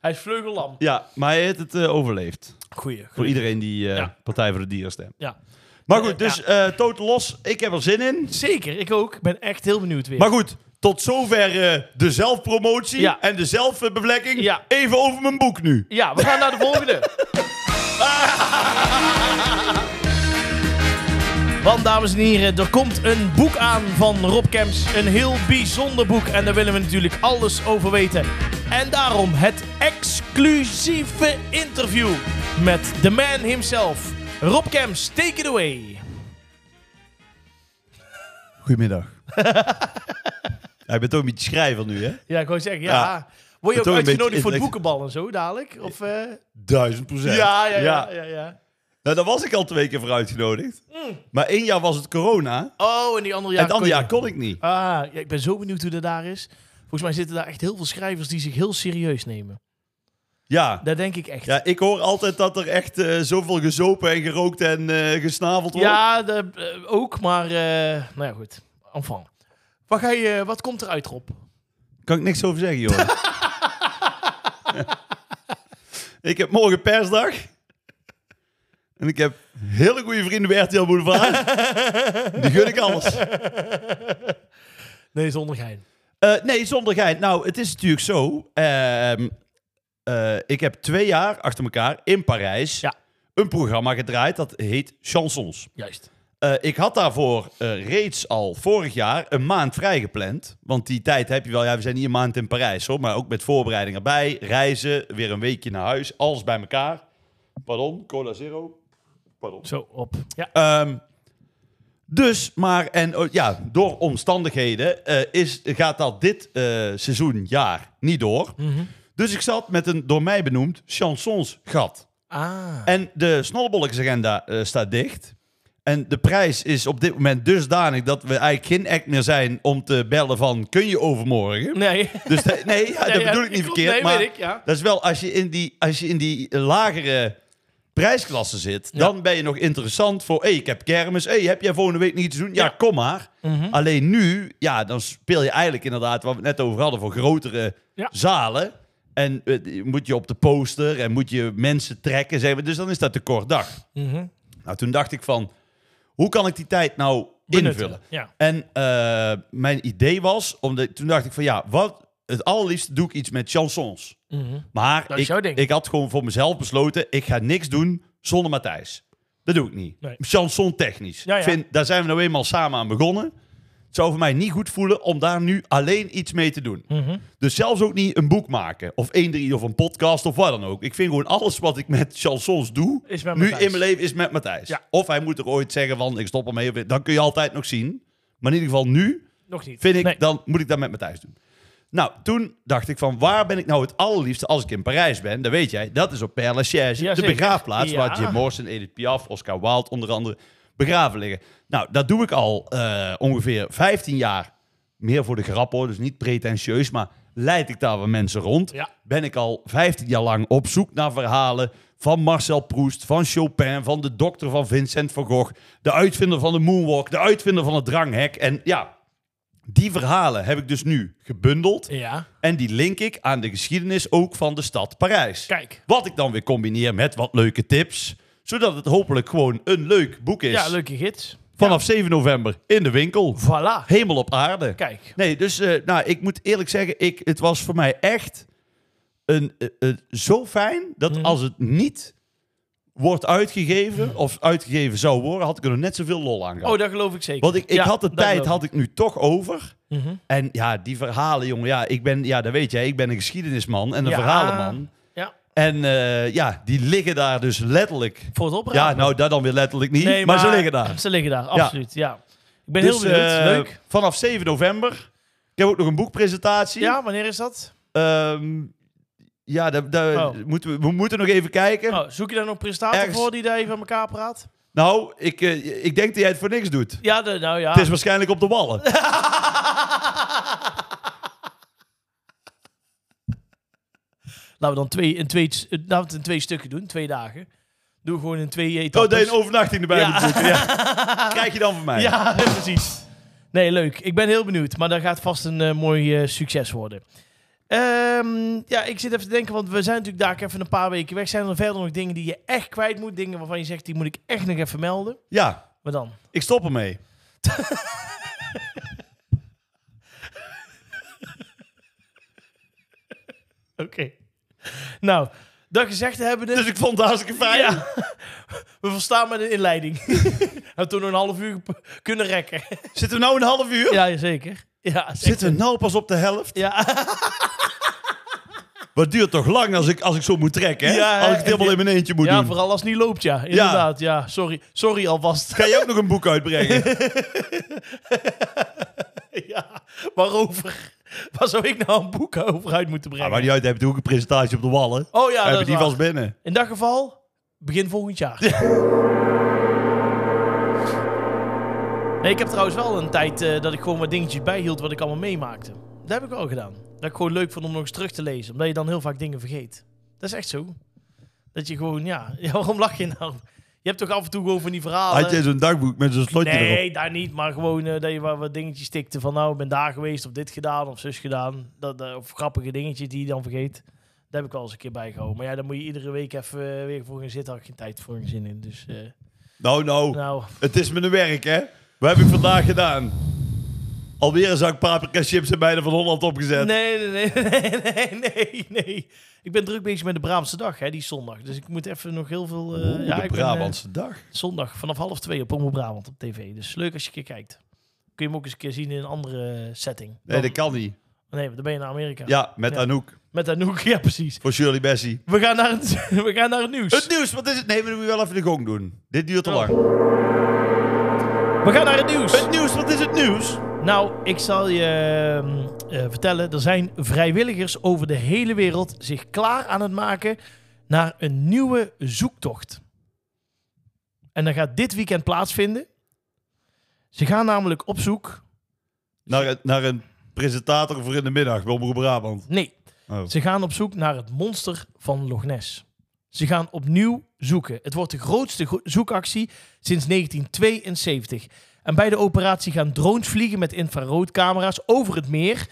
A: Hij is vleugellam.
B: Ja, maar hij heeft het eh, overleefd.
A: Goeie.
B: Voor
A: goeie.
B: iedereen die eh,
A: Ja.
B: Partij voor de Dieren stemt.
A: Ja.
B: Maar goed,
A: Ja.
B: dus eh totaal los. Ik heb er zin in.
A: Zeker, ik ook. Ik ben echt heel benieuwd weer.
B: Maar goed, tot zover eh, de zelfpromotie
A: Ja.
B: en de zelfbevlekking.
A: Ja.
B: Even over mijn boek nu.
A: Ja, we gaan naar de volgende. Want dames en heren, er komt een boek aan van Rob Kemps. Een heel bijzonder boek en daar willen we natuurlijk alles over weten. En daarom het exclusieve interview met de man himself. Rob Kemps, take it away.
B: Goedemiddag. Hij bent ook een beetje schrijver nu, hè?
A: Ja, ik wou zeggen, ja.
B: Ja.
A: Word je
B: Het
A: ook
B: ook een
A: uitgenodigd
B: beetje
A: voor de
B: intellect-
A: boekenbal en zo dadelijk? Of, eh?
B: Duizend procent.
A: ja, ja, ja, ja, ja.
B: Nou, daar was ik al twee keer voor uitgenodigd. Maar één jaar was het corona.
A: Oh, en die andere
B: en
A: jaar
B: het andere
A: Mm. kon je-
B: jaar kon ik niet.
A: Ah, ja, ik ben zo benieuwd hoe dat daar is. Volgens mij zitten daar echt heel veel schrijvers die zich heel serieus nemen.
B: Ja.
A: Dat denk ik echt. Ja,
B: ja, ik hoor altijd dat er echt eh, zoveel gezopen en gerookt en eh, gesnaveld wordt.
A: dat, eh, ook, maar eh, nou ja, goed. Enfin. Wat, ga je, wat komt eruit, Rob?
B: Kan ik niks over zeggen, joh. ik heb morgen persdag. En ik heb hele goede vrienden bij RTL Boulevard. Die gun ik alles.
A: Nee, zonder gein.
B: Eh, nee, zonder gein. Nou, het is natuurlijk zo. ehm, eh, ik heb twee jaar achter elkaar in Parijs
A: Ja.
B: een programma gedraaid. Dat heet Chansons.
A: Juist.
B: Eh, ik had daarvoor eh, reeds al vorig jaar een maand vrijgepland. Want die tijd heb je wel. Ja, we zijn hier een maand in Parijs hoor. Maar ook met voorbereiding erbij. Reizen, weer een weekje naar huis. Alles bij elkaar. Pardon, cola zero. Pardon.
A: Zo, op. Ja.
B: Ehm, dus, maar en oh, ja, door omstandigheden eh, is, gaat dat dit eh, seizoen, jaar, niet door. Dus ik zat met een door mij benoemd chansonsgat.
A: Ah.
B: En de snollebolksagenda eh staat dicht. En de prijs is op dit moment dusdanig dat we eigenlijk geen act meer zijn om te bellen van kun je overmorgen?
A: Nee.
B: Dus da- nee, ja, dat
A: Ja, ja,
B: bedoel ik niet
A: klopt.
B: verkeerd.
A: Nee,
B: maar
A: weet ik, ja.
B: dat is wel als je in die, als je in die eh, lagere prijsklasse zit, dan ben je nog interessant voor. hey, ik heb kermis. hey, heb jij volgende week nog iets te doen? Ja,
A: Ja.
B: kom maar.
A: Mhm, Hm?
B: Alleen nu, ja, dan speel je eigenlijk inderdaad wat we het net over hadden voor grotere
A: Ja.
B: zalen. En eh, moet je op de poster en moet je mensen trekken. Zeg maar. Dus dan is dat te kort dag.
A: Mhm.
B: Nou, toen dacht ik van, hoe kan ik die tijd nou
A: Benutten.
B: invullen?
A: Ja.
B: En eh, mijn idee was, omdat, toen dacht ik van ja, wat, het allerliefste doe ik iets met chansons.
A: Mhm. Dat
B: Maar
A: is
B: ik,
A: jouw ding.
B: ik had gewoon voor mezelf besloten, ik ga niks doen zonder Matthijs. Dat doe ik niet.
A: Nee.
B: Chanson technisch.
A: Ja, ja.
B: Ik vind, daar zijn we nou eenmaal samen aan begonnen. Het zou voor mij niet goed voelen om daar nu alleen iets mee te doen.
A: Mhm.
B: Dus zelfs ook niet een boek maken. Of één drie of een podcast of wat dan ook. Ik vind gewoon alles wat ik met chansons doe.
A: Is met
B: nu
A: Matthijs.
B: in mijn leven is met Matthijs.
A: Ja.
B: Of hij moet er ooit zeggen van ik stop ermee. of- Dan kun je altijd nog zien. Maar in ieder geval nu
A: Nog niet.
B: vind ik,
A: Nee.
B: dan moet ik dat met Matthijs doen. Nou, toen dacht ik van waar ben ik nou het allerliefste als ik in Parijs ben? Dat weet jij, dat is op Père Lachaise, de
A: Jazeker.
B: begraafplaats
A: Ja.
B: waar Jim Morrison, Edith Piaf, Oscar Wilde onder andere begraven liggen. Nou, dat doe ik al eh, ongeveer 15 jaar. Meer voor de grap hoor, dus niet pretentieus, maar leid ik daar wel mensen rond.
A: Ja.
B: Ben ik al 15 jaar lang op zoek naar verhalen van Marcel Proust, van Chopin, van de dokter van Vincent van Gogh, de uitvinder van de moonwalk, de uitvinder van het dranghek. En ja, die verhalen heb ik dus nu gebundeld.
A: Ja.
B: En die link ik aan de geschiedenis ook van de stad Parijs.
A: Kijk.
B: Wat ik dan weer combineer met wat leuke tips. Zodat het hopelijk gewoon een leuk boek is.
A: Ja, leuke gids.
B: Vanaf 7 november in de winkel.
A: Voilà.
B: Hemel op aarde.
A: Kijk.
B: Nee, dus eh, nou, ik moet eerlijk zeggen, ik, het was voor mij echt een, eh, eh, zo fijn dat
A: Mhm.
B: als het niet wordt uitgegeven, of uitgegeven zou worden, had ik er nog net zoveel lol aan gehad.
A: Oh, dat geloof ik zeker.
B: Want ik, ik
A: Ja,
B: had de
A: dat
B: tijd
A: geloof
B: had ik nu toch over.
A: ik. Mhm.
B: En ja, die verhalen, jongen. Ja, ik ben, ja, dat weet jij. Ik ben een geschiedenisman en een
A: Ja.
B: verhalenman.
A: Ja.
B: En eh, ja, die liggen daar dus letterlijk.
A: Voor het oprapen.
B: Ja, nou, dat dan weer letterlijk niet.
A: Nee,
B: maar, ze liggen daar.
A: Ze liggen daar, absoluut. Ja. Ik ben heel
B: Dus,
A: benieuwd.
B: eh,
A: Leuk.
B: Vanaf 7 november. Ik heb ook nog een boekpresentatie.
A: Ja, wanneer is dat?
B: Ehm, ja daar, daar
A: Oh.
B: moeten we, we moeten nog even kijken.
A: Oh, zoek je daar nog presentator
B: Ergens.
A: voor die daar even aan elkaar praat?
B: Nou, ik, eh, ik denk dat jij het voor niks doet.
A: Ja, de- nou ja.
B: Het is waarschijnlijk op de wallen. Oh,
A: Laten we dan twee, in twee, eh, laten we het in twee stukken doen, twee dagen. Doe gewoon in twee
B: Oh, dat je
A: etappes.
B: een overnachting erbij
A: Ja.
B: moet boeken. Ja. Krijg je dan van mij.
A: ja, precies. Nee, leuk. Ik ben heel benieuwd, maar dat gaat vast een eh, mooi eh, succes worden. Ehm, ja, ik zit even te denken, want we zijn natuurlijk daar even een paar weken weg. Zijn er verder nog dingen die je echt kwijt moet? Dingen waarvan je zegt, die moet ik echt nog even melden?
B: ja.
A: Maar dan?
B: Ik stop ermee.
A: Oké. Nou, dat gezegd hebben
B: Dus ik vond het hartstikke fijn.
A: Ja. We verstaan met een inleiding. Hebben toen een half uur gep- kunnen rekken.
B: Zitten we nou een half uur?
A: Ja, zeker. Ja,
B: Zitten we nou pas op de helft?
A: Ja,
B: Wat duurt toch lang als ik, als ik zo moet trekken, hè?
A: Ja,
B: als ik het helemaal
A: ja.
B: in mijn eentje moet
A: ja
B: doen.
A: vooral als het niet loopt, ja. Inderdaad, ja. Sorry, sorry alvast.
B: Ga jij ook nog een boek uitbrengen?
A: ja, waarover? Waar zou ik nou een boek over uit moeten
B: ja,
A: brengen?
B: Ah, maar die uit, heb je ook een presentatie op de wallen.
A: Oh ja, dat
B: hebben
A: is
B: die
A: waar.
B: vast binnen.
A: In dat geval, begin volgend jaar. Nee, ik heb trouwens wel een tijd eh, dat ik gewoon wat dingetjes bijhield wat ik allemaal meemaakte. Dat heb ik wel gedaan. Dat ik gewoon leuk vond om nog eens terug te lezen. Omdat je dan heel vaak dingen vergeet. Dat is echt zo. Dat je gewoon, ja, ja waarom lach je nou? Je hebt toch af en toe gewoon van die verhalen.
B: Had jij zo'n dagboek met zo'n slotje erop?
A: Nee, daar niet. Maar gewoon eh, dat je wat, wat dingetjes tikte van nou, ik ben daar geweest of dit gedaan of zus gedaan. Dat, dat- of grappige dingetjes die je dan vergeet. Daar heb ik wel eens een keer bijgehouden. Maar ja, daar moet je iedere week even eh, weer voor gaan zitten. Had ik geen tijd voor geen zin in. Dus eh,
B: Nou, nou.
A: nou,
B: Het is mijn werk, hè? Wat heb ik vandaag gedaan? Alweer een zak paprika chips en beide van Holland opgezet.
A: nee, nee, nee, nee, nee, nee. Ik ben druk bezig met de Brabantse dag, hè, die zondag. Dus ik moet even nog heel veel... eh,
B: Oeh,
A: ja,
B: de
A: ik ben, eh,
B: Brabantse dag.
A: zondag vanaf half twee op Omroep Brabant op tv. Dus leuk als je een keer kijkt. Kun je hem ook eens een keer zien in een andere eh, setting.
B: Nee, dat
A: Dan-
B: kan niet.
A: nee, dan ben je naar Amerika.
B: Ja, met
A: Ja.
B: Anouk.
A: Met Anouk, ja precies.
B: Voor Shirley Bessie.
A: We gaan naar het, we gaan naar het nieuws.
B: Het nieuws, wat is het? Nee, we moeten wel even de gong doen. Dit duurt te
A: Oh.
B: lang.
A: We gaan naar het nieuws.
B: Het nieuws, wat is het nieuws?
A: Nou, ik zal je ehm, eh, vertellen. Er zijn vrijwilligers over de hele wereld zich klaar aan het maken naar een nieuwe zoektocht. En dat gaat dit weekend plaatsvinden. Ze gaan namelijk op zoek.
B: Naar, een- naar een presentator voor in de middag bij Omroep Brabant.
A: Nee,
B: Oh.
A: ze gaan op zoek naar het monster van Loch Ness. Ze gaan opnieuw zoeken. Het wordt de grootste gro- zoekactie sinds 1972. En bij de operatie gaan drones vliegen met infraroodcamera's over het meer,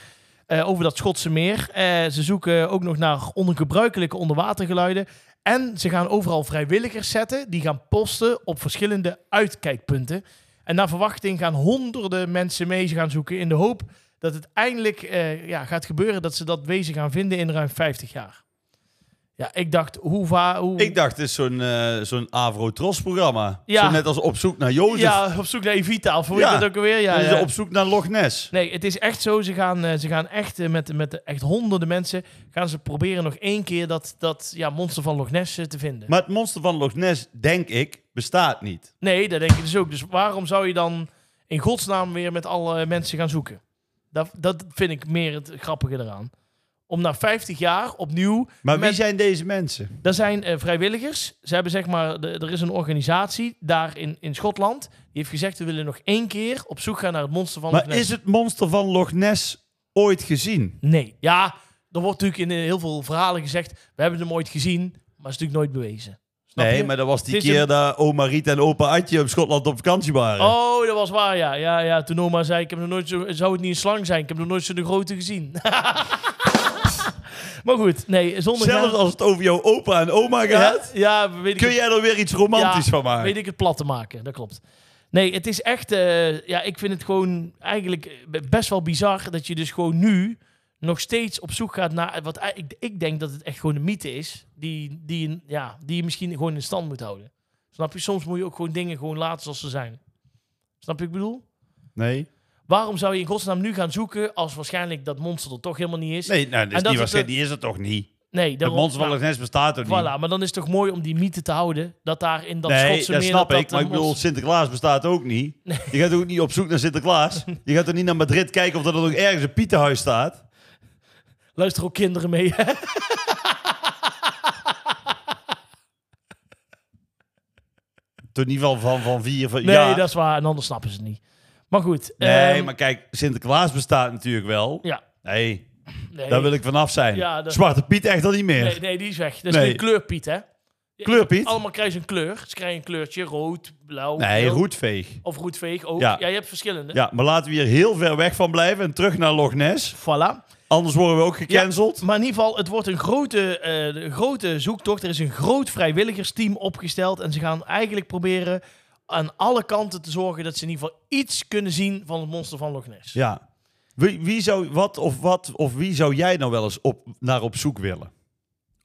A: eh, over dat Schotse meer. Eh, ze zoeken ook nog naar ongebruikelijke onderwatergeluiden. En ze gaan overal vrijwilligers zetten, die gaan posten op verschillende uitkijkpunten. En naar verwachting gaan honderden mensen mee gaan zoeken in de hoop dat het eindelijk eh, ja, gaat gebeuren dat ze dat wezen gaan vinden in ruim 50 jaar. Ja, ik dacht, hoe va... Hoe...
B: Ik dacht, het is zo'n eh, zo'n Avro-Tros-programma.
A: Ja.
B: Zo net als Op zoek naar Jozef.
A: ja, op zoek naar Evita, of hoe
B: Ja.
A: heet dat ook alweer? Ja,
B: Dan is
A: ja.
B: het Op zoek naar Loch Ness.
A: Nee, het is echt zo. Ze gaan, eh, ze gaan echt eh, met, met echt honderden mensen... gaan ze proberen nog één keer dat, dat ja, monster van Loch Ness eh, te vinden.
B: Maar het monster van Loch Ness, denk ik, bestaat niet.
A: Nee, dat denk ik dus ook. Dus waarom zou je dan in godsnaam weer met alle eh, mensen gaan zoeken? Dat, dat vind ik meer het grappige eraan. Om na 50 jaar opnieuw...
B: Maar wie
A: met-
B: zijn deze mensen?
A: Er zijn eh, vrijwilligers. Ze hebben zeg maar, de- er is een organisatie daar in, in Schotland. Die heeft gezegd, we willen nog één keer op zoek gaan naar het monster van
B: Maar
A: Loch Ness.
B: is het monster van Loch Ness ooit gezien?
A: Nee. Ja, er wordt natuurlijk in eh, heel veel verhalen gezegd, we hebben hem ooit gezien, maar is natuurlijk nooit bewezen. Snap
B: nee,
A: je?
B: maar dat was die
A: Het is
B: keer
A: een-
B: dat oma Riet en opa Adje op Schotland op vakantie waren.
A: Oh, dat was waar, ja. Ja, ja. Toen oma zei, ik heb nog nooit zo, zou het niet een slang zijn? Ik heb nog nooit zo'n grote gezien. maar goed, nee, zonder...
B: Zelfs als het over jouw opa en oma gaat,
A: ja, ja, weet ik
B: kun
A: het-
B: jij er weer iets romantisch
A: Ja,
B: van maken.
A: Weet ik het plat te maken, dat klopt. Nee, het is echt... eh, ja, ik vind het gewoon eigenlijk eh, best wel bizar dat je dus gewoon nu nog steeds op zoek gaat naar... Wat, ei- ik, ik denk dat het echt gewoon een mythe is die, die, je- ja, die je misschien gewoon in stand moet houden. Snap je? Soms moet je ook gewoon dingen gewoon laten zoals ze zijn. Snap je wat ik bedoel?
B: Nee.
A: Waarom zou je in godsnaam nu gaan zoeken als waarschijnlijk dat monster er toch helemaal niet is?
B: Nee, nou, dat
A: En
B: is
A: dat
B: niet
A: is
B: waarschijnlijk. Die is er toch niet?
A: nee
B: Het
A: daarom-
B: monster van
A: nou,
B: Loch Ness bestaat toch niet?
A: Voilà, maar dan is het toch mooi om die mythe te houden dat daar in dat
B: nee,
A: Schotse
B: dat
A: meer...
B: snap
A: dat,
B: ik.
A: dat
B: Maar ik
A: een
B: bedoel,
A: monster-
B: Sinterklaas bestaat ook niet. Je gaat ook niet op zoek naar Sinterklaas. Je gaat ook niet naar Madrid kijken of er nog ergens een Pietenhuis staat.
A: Luister ook kinderen mee.
B: Toch in ieder geval van, van vier, van
A: Nee,
B: ja.
A: dat is waar. En anders snappen ze het niet. Maar goed.
B: Nee,
A: ehm,
B: maar kijk, Sinterklaas bestaat natuurlijk wel.
A: Ja.
B: Nee,
A: Nee,
B: daar wil ik vanaf zijn.
A: Ja, dat-
B: Zwarte Piet echt al niet meer.
A: nee, nee, die is weg. Dat is
B: Nee.
A: nu kleurpiet, hè?
B: Kleurpiet?
A: Allemaal krijgen ze een kleur. Ze krijgen een kleurtje. Rood, blauw,
B: Nee,
A: geel.
B: roetveeg.
A: Of roetveeg ook. Ja.
B: Ja.
A: je hebt verschillende.
B: Ja, maar laten we hier heel ver weg van blijven en terug naar Loch Ness.
A: Voilà.
B: Anders worden we ook gecanceld.
A: Maar in ieder geval, het wordt een grote, eh, de grote zoektocht. Er is een groot vrijwilligersteam opgesteld. En ze gaan eigenlijk proberen aan alle kanten te zorgen dat ze in ieder geval iets kunnen zien van het monster van Loch Ness.
B: Ja. Wie, wie zou, wat of wat of wie zou jij nou wel eens op, naar op zoek willen?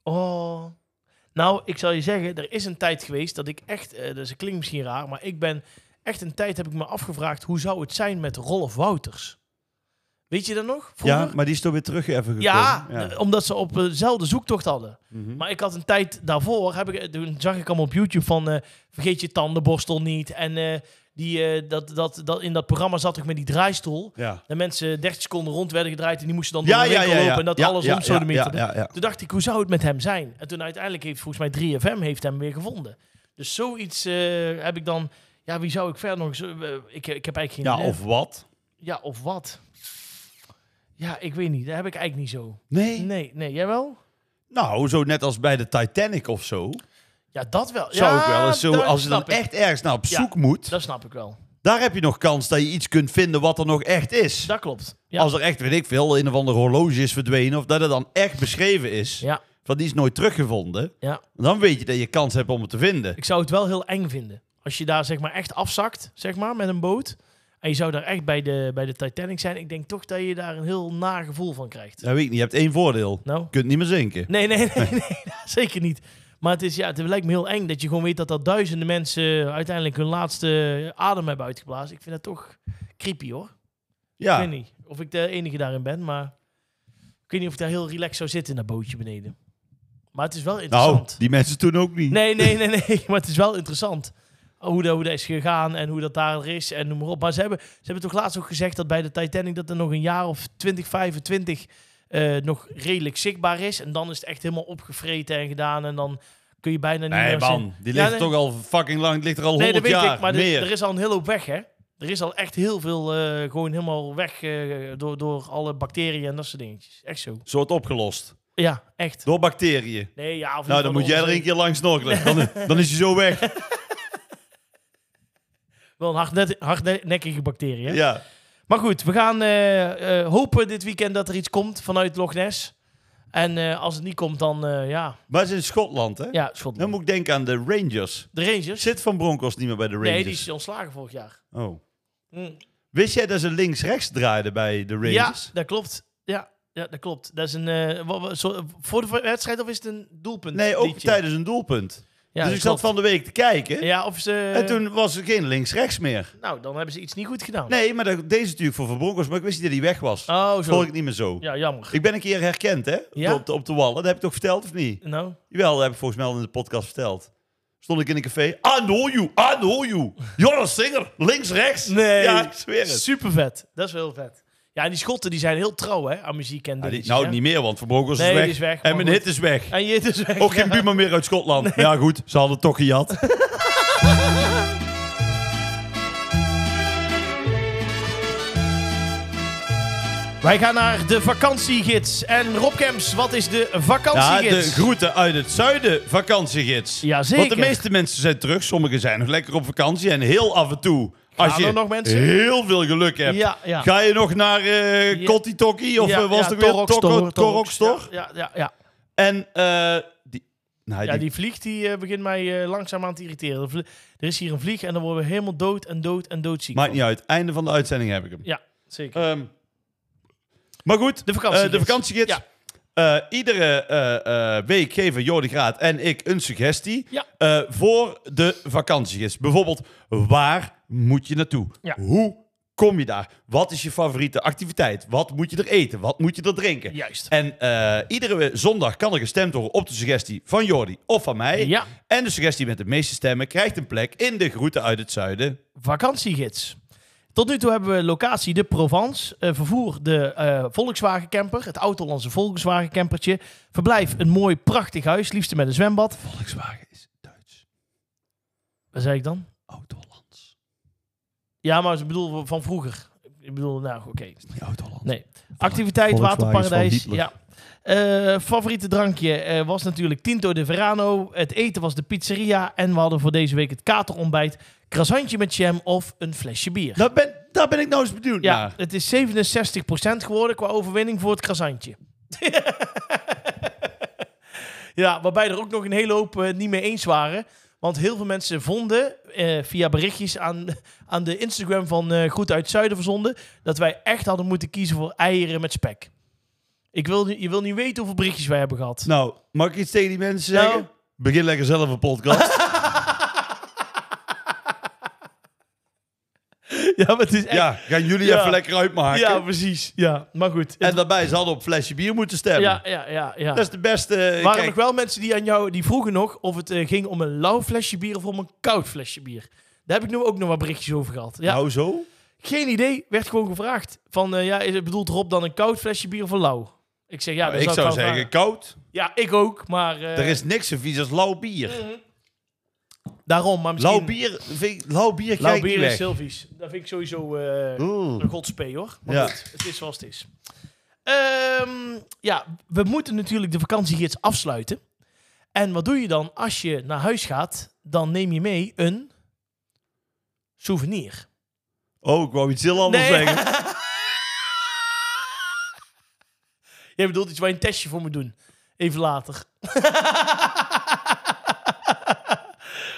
A: Oh. Nou, ik zal je zeggen, er is een tijd geweest dat ik echt, eh dus het klinkt misschien raar, maar ik ben echt een tijd heb ik me afgevraagd hoe zou het zijn met Rolf Wouters? Weet je dat nog? Vroeger?
B: Ja, maar die is toch weer terug even gekomen.
A: Ja, eh, omdat ze op eh, dezelfde zoektocht hadden.
B: Mhm.
A: Maar ik had een tijd daarvoor, heb ik, eh, toen zag ik allemaal op YouTube van eh, vergeet je tandenborstel niet. En eh, die, eh, dat, dat, dat, in dat programma zat ik met die draaistoel.
B: ja.
A: Dat mensen 30 seconden rond werden gedraaid en die moesten dan
B: Ja,
A: door de
B: ja,
A: winkel
B: ja, ja.
A: lopen en dat
B: Ja,
A: alles
B: ja,
A: om zo
B: ja, ja, ja, ja.
A: Toen dacht ik, hoe zou het met hem zijn? En toen uiteindelijk heeft volgens mij 3FM heeft hem weer gevonden. Dus zoiets eh, heb ik dan... Ja, wie zou ik verder nog... eens, eh, ik, ik heb eigenlijk geen
B: ja,
A: idee.
B: of wat?
A: ja, of wat? Ja, ik weet niet. Dat heb ik eigenlijk niet zo.
B: Nee.
A: Nee, nee. Jij wel?
B: Nou, zo net als bij de Titanic of zo.
A: Ja, dat wel.
B: Zou
A: ja,
B: ik wel eens zo,
A: dat
B: als je dan
A: snap ik.
B: echt ergens naar op
A: Ja.
B: zoek moet,
A: Dat snap ik wel.
B: daar heb je nog kans dat je iets kunt vinden wat er nog echt is.
A: Dat klopt. Ja.
B: Als er echt, weet ik veel, een of ander horloge is verdwenen of dat het dan echt beschreven is.
A: ja,
B: Van die is nooit teruggevonden.
A: ja.
B: Dan weet je dat je kans hebt om het te vinden.
A: Ik zou het wel heel eng vinden. Als je daar zeg maar echt afzakt, zeg maar, met een boot. En je zou daar echt bij de, bij de Titanic zijn. Ik denk toch dat je daar een heel naar gevoel van krijgt.
B: Dat weet ik niet. Je hebt één voordeel.
A: Nou?
B: Je kunt niet meer zinken.
A: Nee, nee, nee, nee, zeker niet. Maar het, is, ja, het lijkt me heel eng dat je gewoon weet dat er duizenden mensen uiteindelijk hun laatste adem hebben uitgeblazen. Ik vind dat toch creepy hoor. Ik
B: Ja.
A: weet niet of ik de enige daarin ben, maar ik weet niet of ik daar heel relaxed zou zitten in dat bootje beneden. Maar het is wel
B: Nou,
A: interessant.
B: die mensen toen ook niet.
A: Nee, nee, nee, nee. Maar het is wel interessant. oh, Hoe dat, hoe dat is gegaan en hoe dat daar is en noem maar op. Maar ze hebben, ze hebben toch laatst ook gezegd dat bij de Titanic dat er nog een jaar of 2025 eh nog redelijk zichtbaar is. En dan is het echt helemaal opgevreten en gedaan. En dan kun je bijna niet
B: Nee,
A: meer zien.
B: man. Die ligt
A: Ja, nee.
B: toch al fucking lang. Het ligt er al
A: Nee, dat
B: 100
A: weet
B: jaar.
A: ik. Maar er,
B: meer.
A: er is al een hele hoop weg, hè? Er is al echt heel veel eh, gewoon helemaal weg eh, door, door alle bacteriën en dat soort dingetjes. Echt zo.
B: Zo wordt opgelost.
A: Ja, echt.
B: Door bacteriën.
A: Nee, ja, of
B: Nou,
A: niet
B: dan
A: van
B: moet jij er
A: ons.
B: een keer langs snorkelen. Dan, dan is hij zo weg.
A: Wel een hardnet- hardnekkige bacterie, hè?
B: Ja.
A: Maar goed, we gaan eh, eh, hopen dit weekend dat er iets komt vanuit Loch Ness. En eh, als het niet komt, dan eh, ja,
B: Maar het is in Schotland, hè?
A: ja
B: Dan
A: Schotland.
B: moet ik denken aan de Rangers.
A: De Rangers?
B: Zit Van Bronckhorst niet meer bij de Rangers?
A: Nee, die is ontslagen vorig jaar.
B: Oh.
A: Mm.
B: Wist jij dat ze links-rechts draaiden bij de
A: Ja,
B: Rangers?
A: dat klopt. Ja, Ja, dat klopt. Dat is een, eh, wa- wa- zo- voor de wedstrijd of is het een doelpunt?
B: Nee, ook
A: liedje?
B: tijdens een doelpunt.
A: Ja,
B: dus
A: dat
B: ik zat
A: klopt.
B: van de week te kijken.
A: Ja, of ze...
B: En toen was er geen links-rechts meer.
A: Nou, dan hebben ze iets niet goed gedaan.
B: Nee, maar dat, deze natuurlijk voor Van Bronckhorst, maar ik wist niet dat hij weg was.
A: Oh, zo.
B: Vond ik niet meer zo.
A: Ja, jammer.
B: Ik ben een keer herkend, hè?
A: Ja?
B: Op, de, op de wallen. Dat heb ik toch verteld, of niet?
A: Nou,
B: Jawel, dat heb ik volgens mij al in de podcast verteld. Stond ik in een café. I know you, I know you. Jonas Singer, links, rechts.
A: Nee.
B: Ja, ik zweer het.
A: super vet. Dat is wel heel vet. Ja, en die Schotten die zijn heel trouw hè, aan muziek en
B: Ja, die-
A: dingetjes,
B: nou,
A: hè?
B: niet meer, want Van Bronckhorst
A: Nee,
B: is,
A: die
B: weg.
A: is weg,
B: En
A: maar
B: mijn
A: goed.
B: hit is weg.
A: En je dus- is weg.
B: Ook geen buurman meer uit Schotland. Ja, goed. Ze hadden toch gejat.
A: Wij gaan naar de vakantiegids. En Rob Kemps, wat is de
B: Ja, de
A: vakantiegids?
B: groeten uit het zuiden, vakantiegids.
A: Jazeker.
B: Want de meeste mensen zijn terug. Sommigen zijn nog lekker op vakantie. En heel af en toe, als
A: Gaan
B: je
A: er nog mensen?
B: heel veel geluk hebt,
A: Ja, ja.
B: ga je nog naar eh
A: Ja.
B: Kotti Tokki of
A: Ja,
B: eh, was
A: ja,
B: het ook weer
A: Torrox,
B: Tokko-
A: Torrox,
B: Torrox, toch?
A: Ja, ja, ja.
B: En eh, die, nou,
A: Ja,
B: die,
A: die vlieg die eh, begint mij eh, langzaam aan te irriteren. Er vlie- Er is hier een vlieg en dan worden we helemaal dood en dood en doodziek.
B: maakt
A: van.
B: niet uit. Einde van de uitzending heb ik hem.
A: Ja, zeker.
B: Ehm, maar goed,
A: De vakantiegids.
B: eh, de vakantiegids.
A: Ja.
B: Eh, iedere eh, eh, week geven Jordi Graat en ik een suggestie
A: Ja.
B: eh, voor de vakantiegids. Bijvoorbeeld, waar moet je naartoe?
A: Ja.
B: Hoe kom je daar? Wat is je favoriete activiteit? Wat moet je er eten? Wat moet je er drinken?
A: Juist.
B: En eh, iedere we- zondag kan er gestemd worden op de suggestie van Jordi of van mij.
A: Ja.
B: En de suggestie met de meeste stemmen krijgt een plek in de groeten uit het zuiden.
A: vakantiegids. Tot nu toe hebben we locatie de Provence, eh, vervoer de eh Volkswagen camper, het oud-Hollandse Volkswagen campertje. Verblijf een mooi prachtig huis, liefst met een zwembad.
B: Volkswagen is Duits,
A: Wat zei ik dan?
B: Oud-Hollands.
A: Ja, maar ik bedoel van vroeger. Ik bedoel, nou oké.
B: Niet Oud-Hollands.
A: Nee. Activiteit,
B: Volkswagen is
A: waterparadijs.
B: van Hitler.
A: Ja. Eh, favoriete drankje eh, was natuurlijk Tinto de Verano. Het eten was de pizzeria. En we hadden voor deze week het katerontbijt. Krasantje met jam of een flesje bier.
B: Daar ben, daar ben ik nou eens benieuwd
A: Ja,
B: naar.
A: het is 67% geworden qua overwinning voor het krasantje. ja, waarbij er ook nog een hele hoop eh, niet mee eens waren. Want heel veel mensen vonden, eh, via berichtjes aan, aan de Instagram van eh Goed uit Zuiden verzonden, dat wij echt hadden moeten kiezen voor eieren met spek. Ik wil, niet- je wil niet weten hoeveel berichtjes wij hebben gehad.
B: Nou, mag ik iets tegen die mensen
A: Nou.
B: zeggen? Begin lekker zelf een podcast.
A: Ja, maar het is echt...
B: ja, gaan jullie
A: Ja.
B: even lekker uitmaken.
A: Ja, precies. Ja, maar goed.
B: en daarbij, ze hadden op flesje bier moeten stemmen.
A: ja, ja, ja, ja.
B: Dat is de beste... eh,
A: Er waren
B: kijk,
A: nog wel mensen die aan jou die vroegen nog of het eh, ging om een lauw flesje bier of om een koud flesje bier. Daar heb ik nu ook nog wat berichtjes over gehad. Ja,
B: Nou zo?
A: Geen idee, werd gewoon gevraagd. Van, eh, ja, is het bedoeld erop dan een koud flesje bier of een lauw? Ik zeg, ja, dat
B: ik zou
A: gewoon
B: zeggen,
A: vragen.
B: koud.
A: Ja, ik ook, maar... eh,
B: er is niks zo vies als lauw bier.
A: Daarom, maar misschien...
B: Lauw bier, vind ik- lauw bier
A: Lauw
B: krijg ik
A: bier
B: niet
A: is
B: weg.
A: heel vies. Dat vind ik sowieso eh,
B: Oeh.
A: een godspee, hoor. Maar
B: Ja.
A: goed, het is zoals het is. Ehm, ja, we moeten natuurlijk de vakantiegids afsluiten. En wat doe je dan als je naar huis gaat? Dan neem je mee een souvenir.
B: Oh, ik wou iets heel anders
A: Nee.
B: zeggen.
A: Jij bedoelt iets waar je een testje voor moet doen. Even later.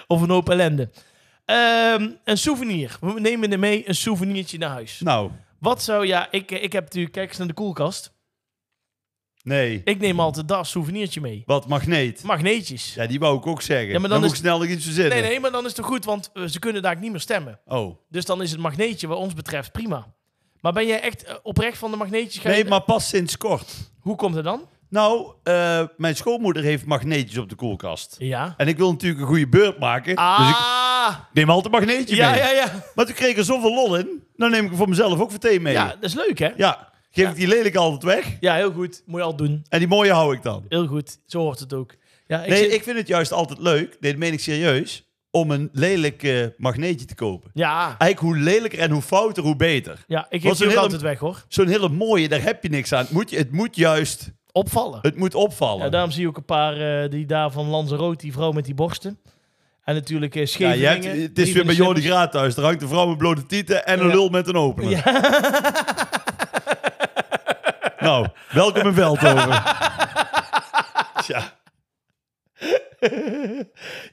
A: of een hoop ellende. Ehm, een souvenir. We nemen er mee een souvenirtje naar huis.
B: Nou,
A: Wat zou... Ja, ik, ik heb natuurlijk... Kijk eens naar de koelkast.
B: nee.
A: Ik neem altijd daar een souvenirtje mee.
B: Wat magneet.
A: Magneetjes.
B: Ja, die wou ik ook zeggen.
A: Ja, maar
B: dan
A: dan
B: moet
A: is-
B: ik snel nog iets verzinnen.
A: Nee, nee, maar dan is het toch goed, want eh, ze kunnen daar niet meer stemmen.
B: Oh.
A: Dus dan is het magneetje wat ons betreft prima. Maar ben jij echt eh, oprecht van de magneetjes? Ga je-
B: Nee, maar pas sinds kort.
A: Hoe komt het dan?
B: Nou, eh, mijn schoonmoeder heeft magneetjes op de koelkast.
A: Ja.
B: En ik wil natuurlijk een goede beurt maken. Dus ik
A: Ah!
B: neem altijd een magneetje
A: Ja,
B: mee.
A: ja, ja.
B: Maar toen kreeg ik er zoveel lol in. Dan neem ik er voor mezelf ook meteen mee.
A: Ja,
B: Ja.
A: dat is leuk, hè?
B: Geef
A: Ja.
B: ik die lelijk altijd weg.
A: Ja, heel goed. Moet je al doen.
B: En die mooie hou ik dan.
A: Heel goed. Zo hoort het ook. Ja, ik
B: nee,
A: zit-
B: ik vind het juist altijd leuk. Nee, dat meen ik serieus. Om een lelijk eh, magneetje te kopen.
A: Ja,
B: Eigenlijk hoe lelijker en hoe fouter, hoe beter.
A: ja ik geef
B: Was
A: die
B: een
A: ook
B: hele-
A: altijd weg, hoor.
B: Zo'n hele mooie, daar heb je niks aan. Het moet, je- het moet juist,
A: Opvallen.
B: het moet opvallen.
A: Ja, daarom zie je ook een paar eh, die daar van Lanzarote, die vrouw met die borsten. En natuurlijk eh
B: Ja,
A: Scheveningen.
B: Nou, je hebt, het is
A: Drie
B: weer
A: van
B: bij
A: de
B: Jordi
A: slippers.
B: Graat thuis. Er hangt een vrouw met blote tieten en een
A: Ja.
B: lul met een opener.
A: Ja.
B: Nou, welkom in Veldhoven. Tja,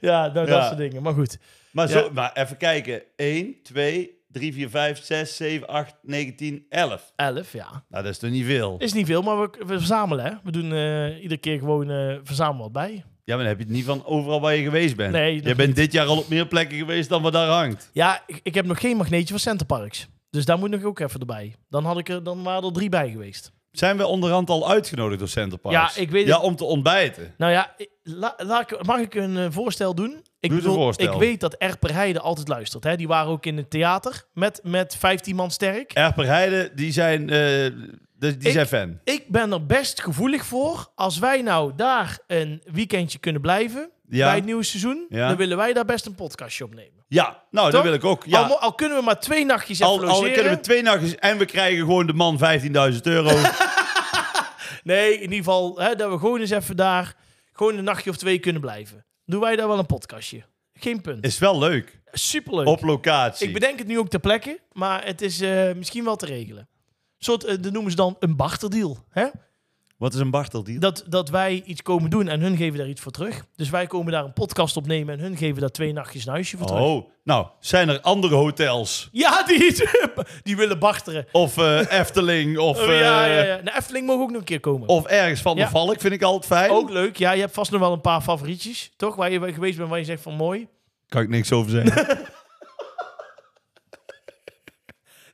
A: Ja, nou, dat
B: Ja.
A: soort dingen. Maar goed.
B: maar, zo,
A: Ja.
B: maar even kijken. 1, 2, 3, 4, 5, 6, 7, 8, 9, 10, 11.
A: 11, ja.
B: Nou, dat is toch niet veel?
A: Is niet veel, maar we, we verzamelen, hè. We doen eh, iedere keer gewoon eh verzamelen wat bij.
B: Ja, maar dan heb je het niet van overal waar je geweest bent.
A: Nee,
B: je
A: nog
B: bent dit jaar al op meer plekken geweest dan wat daar hangt.
A: Ja, ik, ik heb nog geen magneetje van Centerparks. Dus daar moet nog ook even erbij. Dan, had ik er, dan waren er drie bij geweest.
B: Zijn we onderhand al uitgenodigd door Centerparks?
A: Ja, ik weet
B: Ja,
A: het.
B: om te ontbijten.
A: Nou ja, ik- la- laat ik- mag ik een eh, voorstel doen? Ik,
B: Doe eens een voorstel.
A: ik weet dat Erper Heide altijd luistert. Hè? Die waren ook in het theater met, met 15 man sterk.
B: Erper Heide, die zijn, eh, die, die
A: Ik-
B: zijn fan.
A: Ik ben er best gevoelig voor. Als wij nou daar een weekendje kunnen blijven
B: Ja.
A: bij het nieuwe seizoen,
B: Ja.
A: dan willen wij daar best een podcastje opnemen.
B: Ja, nou,
A: Toch?
B: dat wil ik ook.
A: Al, mo-
B: Ja.
A: al kunnen we maar twee nachtjes even
B: Al, al
A: logeren.
B: kunnen we twee nachtjes en we krijgen gewoon de man 15.000 euro.
A: Nee, in ieder geval hè, dat we gewoon eens even daar gewoon een nachtje of twee kunnen blijven. Doen wij daar wel een podcastje. Geen punt.
B: is wel leuk.
A: Superleuk.
B: Op locatie.
A: Ik bedenk het nu ook ter plekke, maar het is eh, misschien wel te regelen. Een soort, eh, dat noemen ze dan een barterdeal. Hè?
B: Wat is een barteldeal?
A: Dat, dat wij iets komen doen en hun geven daar iets voor terug. Dus wij komen daar een podcast opnemen en hun geven daar twee nachtjes een huisje voor terug.
B: Oh, nou, zijn er andere hotels?
A: Ja, die, die willen barteren.
B: Of eh, Efteling, of,
A: Oh, ja,
B: eh,
A: ja, ja. Nou, Efteling mogen ook nog een keer komen.
B: of ergens van de
A: Ja.
B: Valk, vind ik altijd fijn.
A: Ook leuk. Ja, je hebt vast nog wel een paar favorietjes, toch? Waar je wel geweest bent, waar je zegt van mooi.
B: Kan ik niks over zeggen.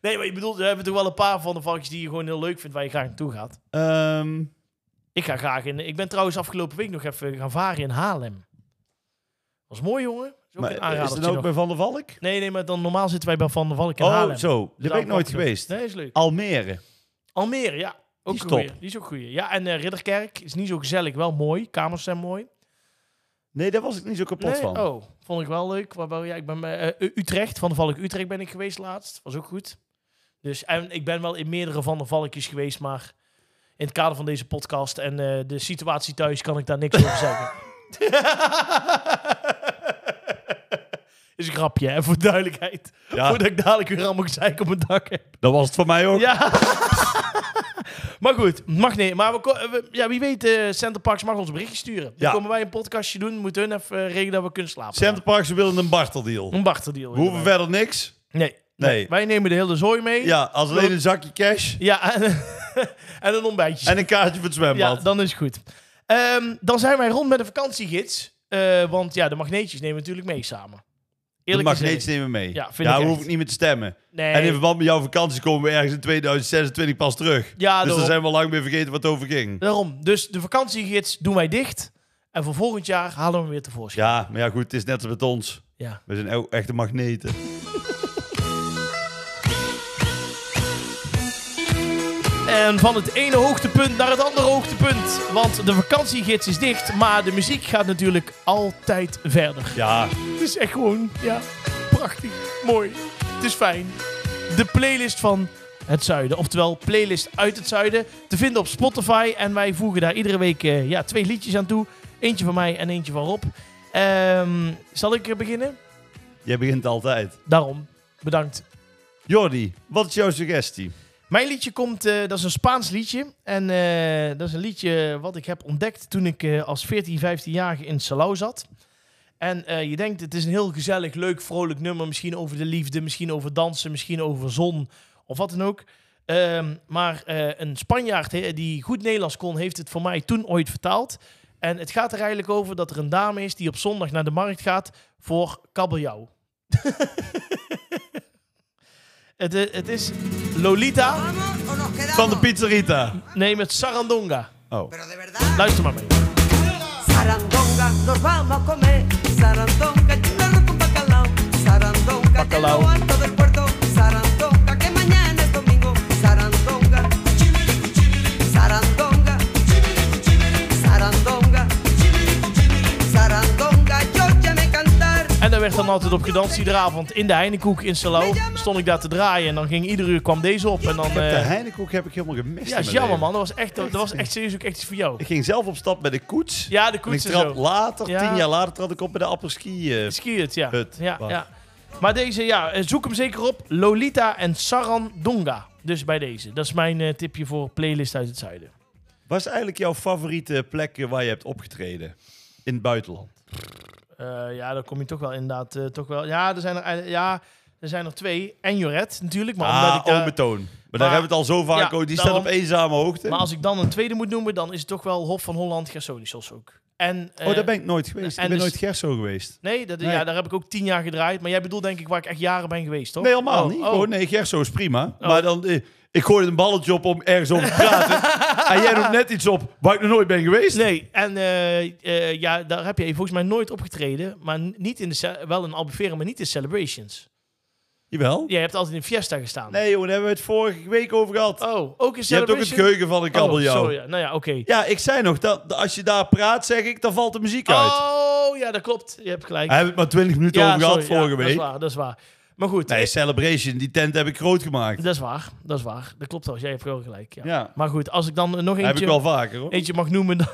A: Nee, maar je bedoelt, we hebben toch wel een paar van de varkens die je gewoon heel leuk vindt, waar je graag naartoe gaat.
B: Ehm,
A: Ik ga graag in. Ik ben trouwens afgelopen week nog even gaan varen in Haarlem. Was mooi, jongen. Is ook
B: maar
A: een
B: is
A: aanradertje
B: het ook
A: nog.
B: bij Van der Valk?
A: Nee, nee, maar dan normaal zitten wij bij Van der Valk in
B: Oh,
A: Haarlem.
B: zo.
A: Dus
B: Daar ben ik
A: daarom
B: nooit
A: ook nog.
B: geweest.
A: Nee, is leuk.
B: Almere.
A: Almere, ja. Ook
B: is
A: een
B: top.
A: goeie. Die is ook goeie. Ja, en eh, Ridderkerk is niet zo gezellig, wel mooi. Kamers zijn mooi.
B: Nee, daar was ik niet zo kapot
A: Nee?
B: van.
A: Oh, vond ik wel leuk. Waarbij, ja, ik ben bij eh, Utrecht, Van der Valk Utrecht ben ik geweest laatst. Was ook goed. Dus, en ik ben wel in meerdere Van der Valkjes geweest, maar in het kader van deze podcast en eh, de situatie thuis kan ik daar niks over zeggen. Is een grapje, hè, voor duidelijkheid.
B: Ja.
A: Voordat ik dadelijk weer allemaal gezeik op mijn dak heb.
B: Dat was het voor mij ook.
A: Ja. maar goed, mag nee. Maar we, ko- we- ja, wie weet, eh Centerparks mag ons berichtje sturen. Dan
B: Ja.
A: komen wij een podcastje doen. Moeten hun even eh, regelen dat we kunnen slapen.
B: Centerparks, we willen een barteldeal.
A: Een barterdeal.
B: We hoeven
A: inderdaad.
B: verder niks.
A: Nee.
B: Nee.
A: Wij nemen de hele zooi mee.
B: Ja, als alleen een zakje cash
A: Ja, en, en een ontbijtje.
B: en een kaartje voor het
A: ja,
B: zwembad.
A: dan is het goed. Ehm, dan zijn wij rond met een vakantiegids. Eh, want ja, de magneetjes nemen we natuurlijk mee samen.
B: de
A: Eerlijk
B: magneet
A: gezegd.
B: nemen
A: Ja,
B: mee. Ja,
A: vind ik
B: daar
A: echt.
B: hoef ik niet meer te stemmen.
A: Nee.
B: En in verband met jouw vakantie komen we ergens in 2026 pas terug.
A: ja,
B: dus
A: daarom.
B: dan zijn we al lang weer vergeten wat het over ging.
A: daarom. Dus de vakantiegids doen wij dicht. En voor volgend jaar halen we hem weer tevoorschijn.
B: Ja, maar ja goed, het is net als met ons.
A: Ja.
B: We zijn ook echte magneten.
A: En van het ene hoogtepunt naar het andere hoogtepunt. Want de vakantiegids is dicht, maar de muziek gaat natuurlijk altijd verder.
B: Ja,
A: Het is echt gewoon, ja, prachtig, mooi. Het is fijn. De playlist van het zuiden, oftewel playlist uit het zuiden, te vinden op Spotify. En wij voegen daar iedere week eh, ja, twee liedjes aan toe. Eentje van mij en eentje van Rob. Ehm, zal ik eh, beginnen?
B: jij begint altijd.
A: Daarom, bedankt.
B: Jordi, wat is jouw suggestie?
A: Mijn liedje komt, eh, dat is een Spaans liedje. En eh, dat is een liedje wat ik heb ontdekt toen ik eh, als 14, 15-jarige in Salau zat. En eh, je denkt, het is een heel gezellig, leuk, vrolijk nummer. Misschien over de liefde, misschien over dansen, misschien over zon of wat dan ook. Ehm, maar eh, een Spanjaard hè, die goed Nederlands kon, heeft het voor mij toen ooit vertaald. En het gaat er eigenlijk over dat er een dame is die op zondag naar de markt gaat voor kabeljauw. het, eh, het is Lolita.
C: ¿Vamos o nos quedamos?
B: Van de pizzerita.
A: Nee, met Sarandonga.
B: Oh.
C: Pero de verdad.
A: Luister maar mee.
C: Sarandonga, nos vamos a comer. Sarandonga, churrasco con bacalao. Sarandonga, del
A: Bacalao.
C: lo alto del puerto. Sarandonga, que mañana es domingo. Sarandonga. Sarandonga. Sarandonga. Sarandonga, yo ya me cantar.
A: En daar werd dan altijd op gedanst iedere avond in de Heinekoek in Salau. Stond ik daar te draaien en dan ging iedere uur kwam deze op. En dan,
B: De
A: eh,
B: Heinekoek heb ik helemaal gemist.
A: ja,
B: in
A: is
B: mijn
A: jammer
B: leven.
A: man. Dat was echt, dat was echt serieus ook echt iets voor jou.
B: Ik ging zelf op stap met de koets.
A: Ja, de
B: En ik
A: koets en
B: trad
A: zo.
B: later,
A: Ja.
B: tien jaar later, trad ik op bij de apperski. eh,
A: Ski het, ja.
B: Hut,
A: ja,
B: wacht.
A: ja. Maar deze, ja, eh, zoek hem zeker op. Lolita en Sarandonga. Dus bij deze. Dat is mijn eh, tipje voor playlist uit het zuiden.
B: Wat is eigenlijk jouw favoriete plek eh, waar je hebt opgetreden? In het buitenland.
A: Eh, ja, dan kom je toch wel inderdaad, eh, toch wel. Ja, er zijn er, eh, ja, Er zijn er twee. En Joret natuurlijk. Maar, omdat
B: Ah,
A: ik daar-
B: onbetoon. Maar, daar hebben we het al zo vaak
A: ja,
B: over. Die
A: daarom-
B: staat op eenzame hoogte.
A: maar als ik dan een tweede moet noemen, dan is het toch wel Hof van Holland Gersonisos ook. En, eh,
B: oh, daar ben ik nooit geweest.
A: en
B: ik ben
A: dus-
B: nooit Gerso geweest.
A: Nee, dat,
B: Nee.
A: Ja, daar heb ik ook tien jaar gedraaid. Maar jij bedoelt denk ik waar ik echt jaren ben geweest, toch?
B: Nee, helemaal
A: Oh,
B: niet.
A: oh.
B: Oh. nee, Gerso is prima. Maar dan, eh, ik gooi een balletje op om ergens over te praten. en jij doet net iets op waar ik nog nooit ben geweest.
A: Nee, en eh, eh, ja, daar heb je volgens mij nooit opgetreden. Maar n- niet in de, ce- wel in Albufeira, maar niet in Celebrations.
B: Jawel?
A: Jij hebt altijd in Fiesta gestaan.
B: Nee, joh, daar hebben we het vorige week over gehad.
A: Oh, ook in
B: je hebt ook het
A: Celebrations?
B: geheugen van een kabeljauw.
A: Oh, sorry. ja. Nou ja, oké.
B: Ja, ik zei nog, dat, als je daar praat, zeg ik, dan valt de muziek uit.
A: Oh, ja, dat klopt. Je hebt gelijk.
B: Daar hebben we het maar 20 minuten
A: ja,
B: over gehad
A: sorry, ja,
B: vorige
A: Dat is
B: week.
A: waar, dat is waar. Maar goed, eh,
B: Nee, Celebration, die tent heb ik groot gemaakt.
A: dat is waar, dat is waar. Dat klopt wel, jij hebt wel gelijk. Ja.
B: Ja.
A: Maar goed, als ik dan nog
B: heb ik
A: eentje,
B: wel vaker hoor.
A: eentje mag noemen, dan,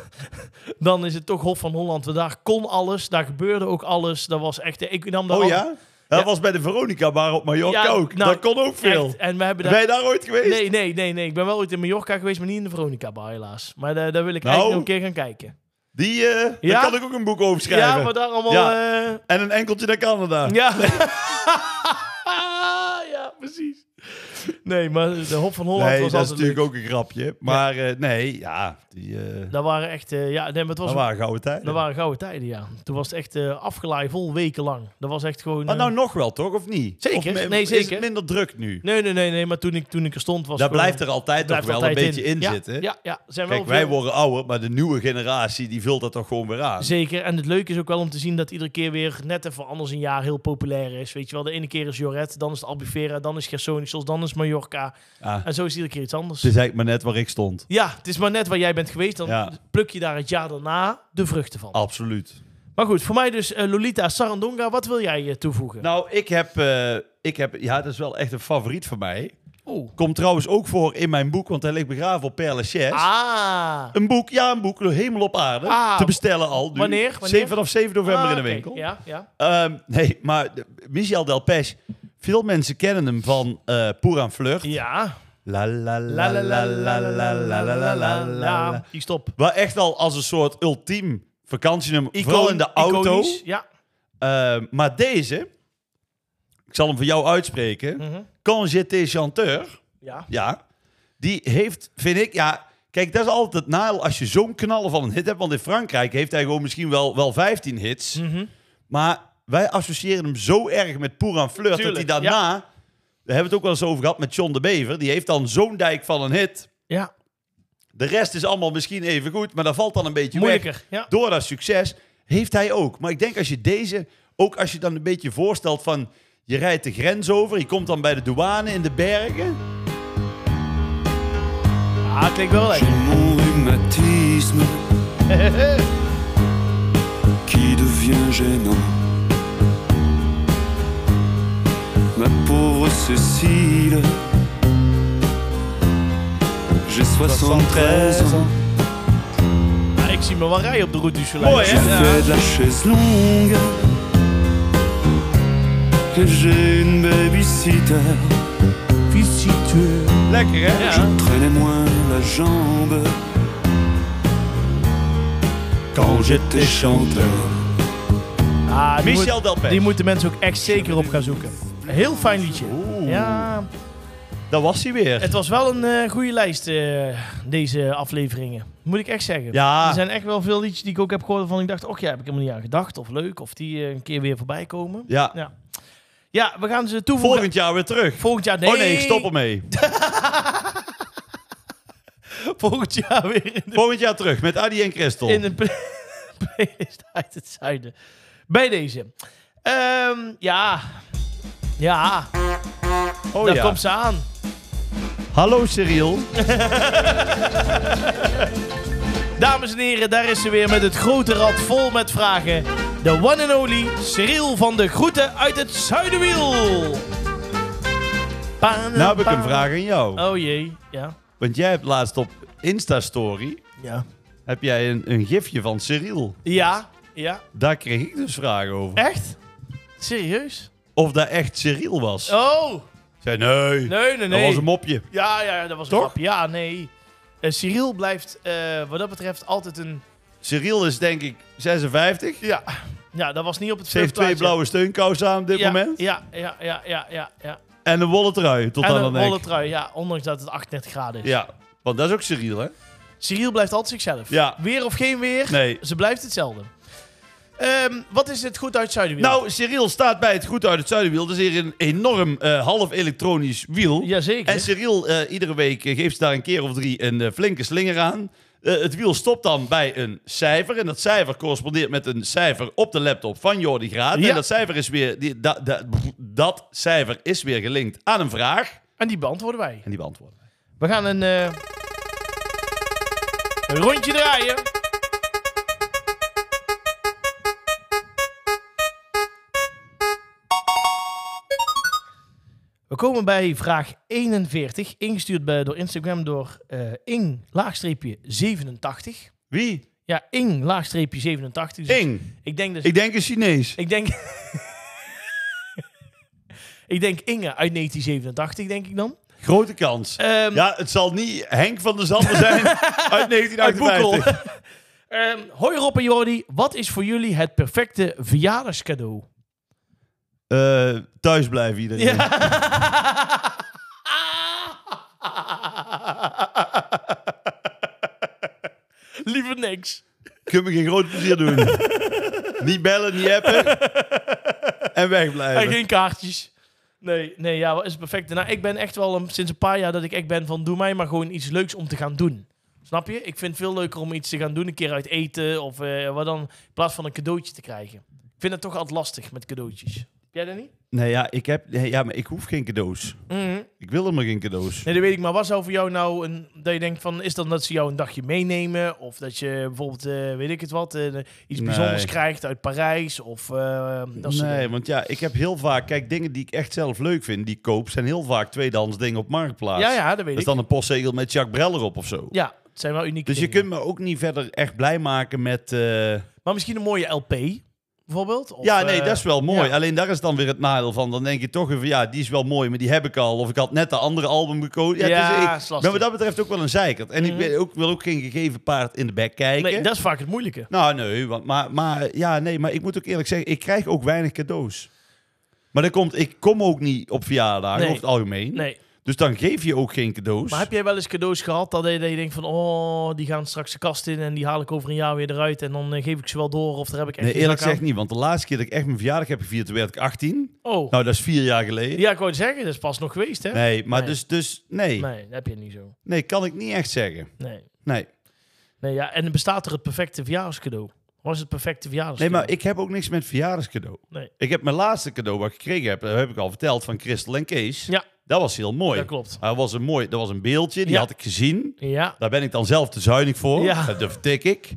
A: dan is het toch Hof van Holland. Want daar kon alles, daar gebeurde ook alles. Dat was echt, ik nam daar
B: Oh
A: al-
B: ja? Dat
A: Ja.
B: was bij de Veronica bar op Mallorca
A: Ja,
B: ook.
A: nou,
B: dat kon ook veel.
A: Echt, en we hebben daar...
B: Ben je daar ooit geweest?
A: Nee, nee, nee, nee. Ik ben wel ooit in Mallorca geweest, maar niet in de Veronica Bar helaas. Maar daar, daar wil ik
B: Nou.
A: eigenlijk nog een keer gaan kijken.
B: Die, eh,
A: Ja?
B: Daar kan ik ook een boek over schrijven.
A: Ja, maar daar allemaal... eh,
B: En een enkeltje naar Canada.
A: Ja. ja, precies. Nee, maar de Hop van Holland
B: nee,
A: was
B: dat is
A: altijd
B: natuurlijk
A: leuk.
B: ook een grapje. Maar eh, nee, ja. Die, eh
A: Dat waren echt... eh, ja, nee, maar het was...
B: dat
A: Dat,
B: waren gouden tijden.
A: waren gouden tijden, ja. Toen was het echt eh afgeleid, vol weken lang. Dat was echt gewoon...
B: Maar
A: eh,
B: nou nog wel, toch? Of niet?
A: Zeker.
B: Of me-
A: Nee,
B: Is
A: zeker.
B: het minder druk nu?
A: nee, nee, nee, nee. Maar toen ik, toen ik er stond was...
B: Daar
A: gewoon-
B: blijft er altijd nog
A: blijft
B: wel een
A: altijd
B: beetje in,
A: Ja,
B: zitten.
A: Ja, ja. Zijn wel
B: Kijk, wij
A: veel-
B: worden ouder, maar de nieuwe generatie die vult dat toch gewoon weer aan.
A: Zeker. En het leuke is ook wel om te zien dat iedere keer weer net even anders een jaar heel populair is. Weet je wel, de ene keer is Joret, dan is het Albufeira, dan is Gersonisos, dan is Mallorca.
B: Ah,
A: En zo is iedere keer iets anders.
B: het is eigenlijk maar net waar ik stond.
A: Ja, het is maar net waar jij bent geweest. Dan
B: Ja.
A: pluk je daar het jaar daarna de vruchten van.
B: Absoluut.
A: Maar goed, voor mij dus eh, Lolita Sarandonga. Wat wil jij eh, toevoegen?
B: Nou, ik heb, eh, ik heb... Ja, dat is wel echt een favoriet van mij.
A: Oeh.
B: Komt trouwens ook voor in mijn boek, want hij ligt begraven op Père Lachaise.
A: Ah.
B: Een boek, ja, een boek, Hemel op Aarde.
A: Ah.
B: te bestellen al. Nu.
A: Wanneer? Wanneer?
B: Zeven- vanaf 7 november
A: Ah,
B: in de
A: oké.
B: winkel.
A: Ja, ja.
B: Ehm, nee, maar de- Michel Delpech. Veel mensen kennen hem van eh Pour en Fleur.
A: Ja.
B: La la la
A: La
B: la la la la la la la la
A: Ja, die stop.
B: Wel echt al als een soort ultiem vakantienummer. vooral in de auto.
A: Iconisch, Ja.
B: Ehm, maar deze, ik zal hem voor jou uitspreken.
A: Mhm.
B: Quand j'étais chanteur,
A: Ja.
B: ja, die heeft, vind ik, ja... Kijk, dat is altijd het nadeel als je zo'n knallen van een hit hebt. Want in Frankrijk heeft hij gewoon misschien wel, wel 15 hits.
A: Mhm.
B: Maar wij associëren hem zo erg met Pour en Fleur... dat hij
A: Tuurlijk,
B: daarna... We hebben het ook wel eens over gehad met John de Bever. Die heeft dan zo'n dijk van een hit.
A: Ja.
B: De rest is allemaal misschien even goed, maar dat valt dan een beetje weg.
A: Moeilijker. Ja.
B: Door dat succes heeft hij ook. Maar ik denk als je deze, ook als je dan een beetje voorstelt van... je rijdt de grens over, je komt dan bij de douane in de bergen...
A: Ah, het klinkt wel lekker.
D: Mon rhumatisme qui devient gênant. Ma pauvre Cécile, j'ai 73 ans.
A: Ah, ik zie me wel rijden op de route du Soleil.
B: Mooi,
D: Je
B: hè?
D: fais de la chaise longue et j'ai une babysitter. Visiteur.
B: Lekker, hè?
A: Ja.
D: traînais moins la jambe quand j'étais chanteur.
A: Ah, die
B: Michel
A: moet-
B: Delpech.
A: Die moeten mensen ook echt zeker op gaan zoeken. Heel fijn liedje.
B: Oeh,
A: Ja,
B: daar was hij weer.
A: Het was wel een eh, goede lijst, eh, deze afleveringen. Moet ik echt zeggen.
B: Ja.
A: Er zijn echt wel veel liedjes die ik ook heb gehoord waarvan ik dacht... Och ja, heb ik helemaal niet aan gedacht. Of leuk. Of die eh, een keer weer voorbij komen.
B: ja.
A: Ja. Ja, we gaan ze toevoegen.
B: Volgend jaar weer terug.
A: Volgend jaar... Nee.
B: Oh nee, ik stop ermee.
A: Volgend jaar weer in de,
B: Volgend jaar terug met Adi en Christel.
A: in de play- playlist uit het zuiden. Bij deze. Ehm, ja. Ja,
B: oh,
A: daar
B: ja.
A: komt ze aan.
B: Hallo Cyril.
A: Dames en heren, daar is ze weer met het grote rad vol met vragen. De one and only Cyril van de Groeten uit het Zuidenwiel. Pa-
B: Nou heb ik
A: pa-
B: een vraag aan jou.
A: Oh jee, ja.
B: Want jij hebt laatst op Insta-story...
A: Ja.
B: heb jij een, een gifje van Cyril.
A: Ja, ja.
B: Daar kreeg ik dus vragen over.
A: Echt? Serieus?
B: Of dat echt Cyril was.
A: Oh,
B: Ik zei, nee,
A: nee, nee, nee.
B: dat was een mopje.
A: Ja, ja, dat was een
B: Toch?
A: grap. Ja, nee. Eh, Cyril blijft eh, wat dat betreft altijd een...
B: Cyril is denk ik 56.
A: Ja. Ja, dat was niet op het
B: Ze heeft twee
A: flirtplaatje.
B: blauwe steunkousen aan op dit
A: ja,
B: moment.
A: Ja, ja, ja, ja, ja. ja.
B: En een wollen trui tot
A: En
B: aan
A: een
B: de nek.
A: wollen trui, ja, ondanks dat het 38 graden is.
B: Ja, want dat is ook Cyril, hè?
A: Cyril blijft altijd zichzelf.
B: Ja.
A: Weer of geen weer,
B: Nee.
A: ze blijft hetzelfde. Ehm, wat is het goed uit Zuidenwiel?
B: Nou, Cyril staat bij het goed uit het zuidenwiel. Dat is hier een enorm eh, half elektronisch wiel.
A: Jazeker.
B: En Cyril, eh, iedere week eh, geeft ze daar een keer of drie een eh, flinke slinger aan. Eh, het wiel stopt dan bij een cijfer. En dat cijfer correspondeert met een cijfer op de laptop van Jordi Graat.
A: Ja.
B: En dat cijfer, is weer, die, da- da- dat cijfer is weer gelinkt aan een vraag.
A: En die beantwoorden wij.
B: En die beantwoorden wij.
A: We gaan een, eh, een rondje draaien. We komen bij vraag 41, ingestuurd bij, door Instagram door eh ing-87.
B: Wie?
A: Ja, ing-87. Dus ik-
B: Ing.
A: Ik denk dus...
B: Ik denk een Chinees.
A: Ik denk... ik denk Inge uit 1987, denk ik dan.
B: Grote kans.
A: Ehm,
B: ja, het zal niet Henk van der Zanden zijn uit
A: uit Boekel.
B: 1958.
A: Ehm, hoi Rob en Jordi, wat is voor jullie het perfecte verjaardagscadeau?
B: Eh, thuis blijven iedereen.
A: Liever niks.
B: Kun me geen groot plezier doen. niet bellen, niet appen. en
A: En
B: wegblijven.
A: geen kaartjes. Nee, nee, ja, wat is het perfecte? Nou, ik ben echt wel een- sinds een paar jaar dat ik echt ben van... doe mij maar gewoon iets leuks om te gaan doen. Snap je? Ik vind het veel leuker om iets te gaan doen. Een keer uit eten of eh, wat dan. In plaats van een cadeautje te krijgen. Ik vind het toch altijd lastig met cadeautjes. Heb jij dat niet?
B: Nee, ja, ik heb, nee, ja, maar ik hoef geen cadeaus. Ik wil helemaal geen cadeaus.
A: Mhm. Nee, dat weet ik. Maar wat zou voor jou nou een... Dat je denkt van, is dan dat ze jou een dagje meenemen? Of dat je bijvoorbeeld, eh, weet ik het wat, eh, iets bijzonders
B: Nee.
A: krijgt uit Parijs? Of eh, dat soort
B: nee,
A: dingen.
B: want ja, ik heb heel vaak... Kijk, dingen die ik echt zelf leuk vind, die ik koop... zijn heel vaak tweedehands dingen op Marktplaats.
A: Ja, ja, dat
B: dat
A: weet
B: is
A: ik.
B: dan een postzegel met Jacques Brel erop of zo.
A: Ja, het zijn wel unieke
B: Dus je
A: dingen.
B: kunt me ook niet verder echt blij maken met... eh,
A: Maar misschien een mooie LP, bijvoorbeeld? Of,
B: ja, nee,
A: eh,
B: dat is wel mooi.
A: ja.
B: Alleen daar is dan weer het nadeel van. Dan denk je toch even, ja, die is wel mooi, maar die heb ik al. Of ik had net de andere album gekozen. Ja,
A: Ja,
B: het is, ik
A: is lastig. Mhm.
B: ben wat dat betreft ook wel een zeikert. En ik ben ook, wil ook geen gegeven paard in de bek kijken.
A: Nee, dat is vaak het moeilijke.
B: Nou, nee, want, maar, maar, ja, nee, maar ik moet ook eerlijk zeggen, ik krijg ook weinig cadeaus. Maar dat komt, ik kom ook niet op verjaardagen,
A: Nee.
B: over het algemeen.
A: Nee.
B: Dus dan geef je ook geen cadeaus.
A: Maar heb jij wel eens cadeaus gehad dat je, dat je denkt van... Oh, die gaan straks de kast in en die haal ik over een jaar weer eruit. En dan eh, geef ik ze wel door of daar heb ik echt
B: nee,
A: geen
B: eerlijk
A: zak aan.
B: gezegd niet, want de laatste keer dat ik echt mijn verjaardag heb gevierd, toen werd ik 18.
A: Oh,
B: Nou, dat is vier jaar geleden.
A: ja, ik wou het zeggen. Dat is pas nog geweest, hè?
B: Nee, maar
A: Nee.
B: dus, dus nee. nee.
A: Nee, dat heb je niet zo.
B: kan ik niet echt zeggen.
A: Nee.
B: Nee.
A: Nee, ja, en bestaat er het perfecte verjaarscadeau? Wat is het perfecte
B: Nee,
A: verjaarscadeau?
B: maar ik heb ook niks met verjaardagscadeau.
A: Nee.
B: Ik heb mijn laatste cadeau wat ik gekregen heb, dat heb ik al verteld, van Christel en Kees.
A: Ja.
B: Dat was heel mooi.
A: Dat klopt.
B: Dat was een mooi, dat was een beeldje, die
A: Ja.
B: had ik gezien.
A: Ja,
B: Daar ben ik dan zelf te zuinig voor.
A: Ja.
B: Dat vertik ik.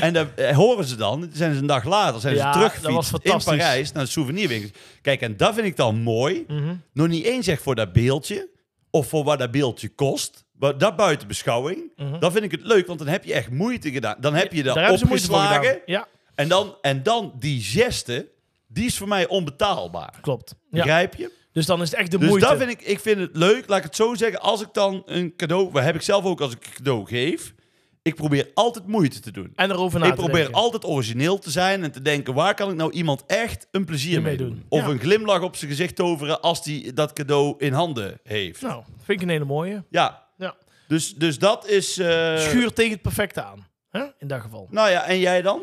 B: En dat eh, horen ze dan. Dan Zijn ze een dag later zijn
A: Ja,
B: ze
A: dat was
B: teruggefietst in
A: fantastisch.
B: Parijs naar de souvenirwinkel. Kijk, en dat vind ik dan mooi.
A: Mhm.
B: Nog niet eens echt voor dat beeldje. Of voor wat dat beeldje kost. Maar dat buiten beschouwing. Dan vind ik het leuk, want dan heb je echt moeite gedaan. Dan heb je
A: Mhm.
B: dat
A: daar hebben ze moeite voor gedaan.
B: opgeslagen.
A: Ja,
B: En dan, en dan die geste, die is voor mij onbetaalbaar.
A: klopt. Ja.
B: Begrijp je?
A: Dus dan is het echt de
B: Dus
A: moeite.
B: dat vind ik, ik vind het leuk. Laat ik het zo zeggen. Als ik dan een cadeau, wat heb ik zelf ook als ik een cadeau geef. Ik probeer altijd moeite te doen.
A: En erover na
B: ik
A: te
B: probeer
A: denken.
B: altijd origineel te zijn en te denken waar kan ik nou iemand echt een plezier mee doen.
A: doen.
B: Of
A: Ja.
B: een glimlach op zijn gezicht toveren als die dat cadeau in handen heeft.
A: Nou, vind ik een hele mooie.
B: Ja,
A: Ja.
B: dus, dus dat is. eh,
A: Schuur tegen het perfecte aan. Hè? In dat geval.
B: Nou ja, en jij dan?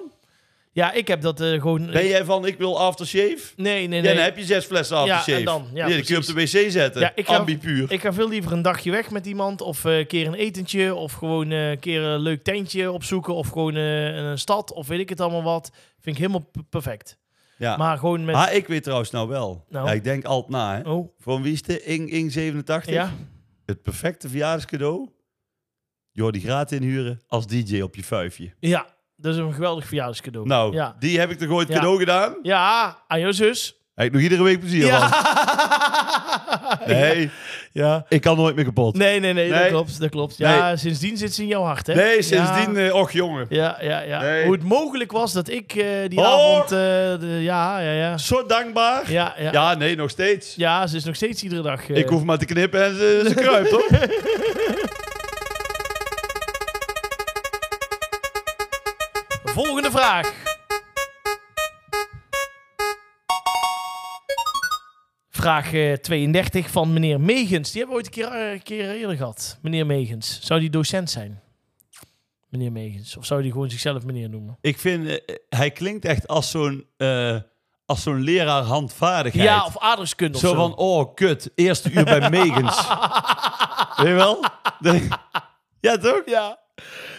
A: Ja, ik heb dat eh, gewoon...
B: Ben jij van ik wil aftershave?
A: Nee, nee,
B: Ja,
A: nee.
B: dan heb je zes flessen
A: en
B: aftershave.
A: dan, ja,
B: die kun je op de wc zetten.
A: Ja, ik ga-
B: Ambipuur.
A: Ik ga veel liever een dagje weg met iemand. Of eh, een keer een etentje. Of gewoon eh, een keer een leuk tentje opzoeken. Of gewoon eh, een stad. Of weet ik het allemaal wat. Vind ik helemaal p- perfect.
B: ja.
A: Maar gewoon met...
B: Ah, ik weet trouwens nou wel.
A: Nou.
B: Ja, ik denk altijd na, hè.
A: Oh,
B: Van wie is de Ing, Ing 87?
A: ja.
B: Het perfecte verjaardagscadeau. Jordi Graat inhuren als DJ op je vuifje.
A: Ja, dat is een geweldig verjaarscadeau.
B: Nou,
A: Ja,
B: die heb ik er ooit
A: Ja.
B: cadeau gedaan.
A: ja aan jouw zus.
B: Heb ik nog iedere week plezier van. Nee,
A: ja.
B: ik kan nooit meer kapot.
A: Nee,
B: Nee,
A: nee, nee, dat
B: Nee.
A: klopt, dat klopt. Ja,
B: Nee.
A: sindsdien zit ze in jouw hart, hè?
B: sindsdien,
A: Ja,
B: eh, och jongen.
A: ja, ja. ja.
B: Nee.
A: Hoe het mogelijk was dat ik eh, die
B: Oh.
A: avond... eh, de- ja, ja, ja.
B: Zo dankbaar. Ja,
A: Ja, ja. ja.
B: nee, nog steeds.
A: ze is nog steeds iedere dag... eh,
B: Ik hoef maar te knippen en ze, ze kruipt, hoor.
A: Volgende vraag. vraag eh, 32 van meneer Megens. Die hebben we ooit een keer, eh, een keer eerder gehad. Meneer Megens. Zou die docent zijn? Meneer Megens. Of zou die gewoon zichzelf meneer noemen?
B: Ik vind, eh, hij klinkt echt als zo'n eh, als zo'n leraar handvaardigheid.
A: Ja, of aardrijkskunde of
B: zo,
A: zo.
B: van, oh, kut, eerste uur bij Megens. Weet je wel? De- ja, toch?
A: Ja,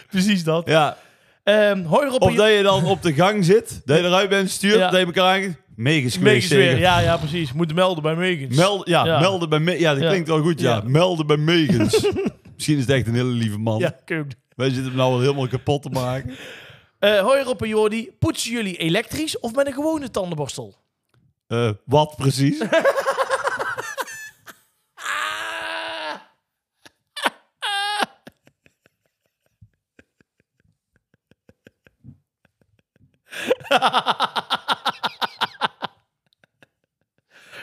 A: precies dat.
B: Ja.
A: Ehm hoi Rob.
B: Of
A: en-
B: dat je dan op de gang zit, dat je eruit bent gestuurd,
A: Ja.
B: dat je elkaar aangeeft.
A: Megens
B: Megens geweest
A: weer.
B: zeker.
A: Ja, ja, precies. Moet melden bij Megens.
B: Meld, ja,
A: Ja.
B: melden bij Me- Ja, dat
A: Ja.
B: klinkt wel goed, ja.
A: Ja.
B: Melden bij Megens. Misschien is het echt een hele lieve man.
A: Ja, kun je ook doen.
B: Wij zitten hem nou wel helemaal kapot te maken.
A: Eh, hoi Rob en Jordi. Poetsen jullie elektrisch of met een gewone tandenborstel?
B: Eh, wat precies?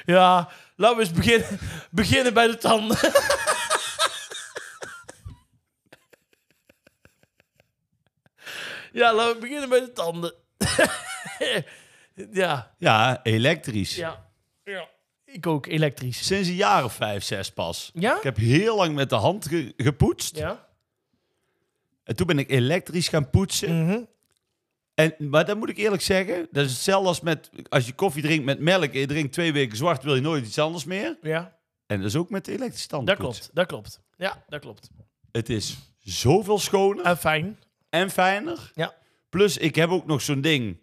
A: Ja, laten we eens beginnen, beginnen bij de tanden. ja, laten we beginnen bij de tanden. ja,
B: Ja, elektrisch.
A: ja, ja. Ik ook, elektrisch.
B: Sinds een jaar of vijf, zes pas.
A: Ja?
B: Ik heb heel lang met de hand ge- gepoetst.
A: Ja?
B: En toen ben ik elektrisch gaan poetsen.
A: Mhm.
B: En, maar dat moet ik eerlijk zeggen. Dat is hetzelfde als met, als je koffie drinkt met melk. En je drinkt twee weken zwart, wil je nooit iets anders meer.
A: Ja,
B: En dat is ook met de elektrische
A: dat
B: tandpoets.
A: klopt, dat klopt. Ja, dat klopt.
B: Het is zoveel schoner
A: En Eh, fijn.
B: en fijner.
A: Ja.
B: Plus, ik heb ook nog zo'n ding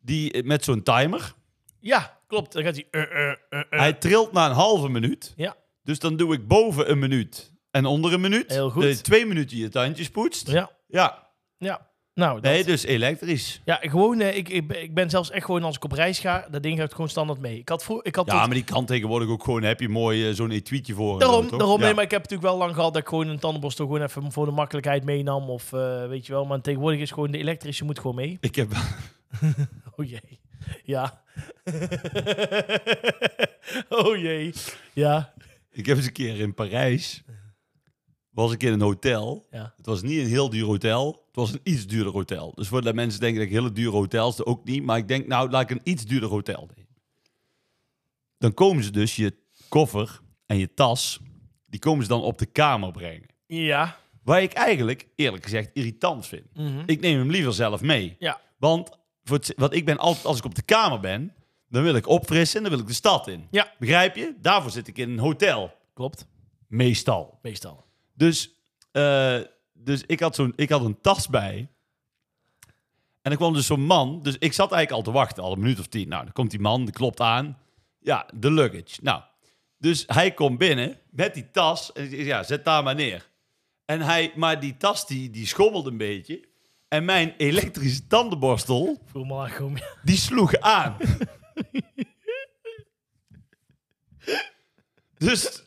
B: die, met zo'n timer.
A: Ja, klopt. Dan gaat hij... eh, eh, eh, eh.
B: Hij trilt na een halve minuut.
A: Ja.
B: Dus dan doe ik boven een minuut en onder een minuut.
A: Heel goed.
B: Dus twee minuten je tandjes poetst.
A: Ja,
B: Ja.
A: ja. Nou, dat-
B: Nee, dus elektrisch.
A: Ja, ik gewoon, eh, ik, ik, ben- ik ben zelfs echt gewoon als ik op reis ga, dat ding gaat gewoon standaard mee. Ik had vroeg, ik had
B: Ja,
A: tot-
B: maar die kan tegenwoordig ook gewoon, heb je mooi eh, zo'n etuietje voor. en
A: daarom,
B: zo, toch?
A: daarom,
B: Ja.
A: nee, maar ik heb natuurlijk wel lang gehad dat ik gewoon een tandenborstel gewoon even voor de makkelijkheid meenam of eh, weet je wel. Maar tegenwoordig is gewoon de elektrische moet gewoon mee.
B: Ik heb,
A: Oh jee, ja. oh jee, ja,
B: ik heb eens een keer in Parijs, was ik in een hotel.
A: ja,
B: Het was niet een heel duur hotel, het was een iets duurder hotel. Dus voordat mensen denken dat ik hele dure hotels, dat ook niet. Maar ik denk, nou, laat ik een iets duurder hotel nemen. Dan komen ze dus je koffer en je tas, die komen ze dan op de kamer brengen.
A: ja,
B: Waar ik eigenlijk, eerlijk gezegd, irritant vind.
A: Mhm.
B: Ik neem hem liever zelf mee.
A: ja,
B: Want voor het- want ik ben altijd, als ik op de kamer ben, dan wil ik opfrissen en dan wil ik de stad in.
A: Ja.
B: Begrijp je? Daarvoor zit ik in een hotel.
A: klopt,
B: Meestal.
A: meestal.
B: Dus, eh, dus ik, had zo'n, ik had een tas bij. En er kwam dus zo'n man. Dus ik zat eigenlijk al te wachten, al een minuut of tien. Nou, dan komt die man, die klopt aan. Ja, de luggage. Nou, dus hij komt binnen met die tas. En ik zeg, ja, zet daar maar neer. En hij, maar die tas die, die schommelde een beetje. En mijn elektrische tandenborstel,
A: Voel me aankomen. Ja.
B: die sloeg aan. dus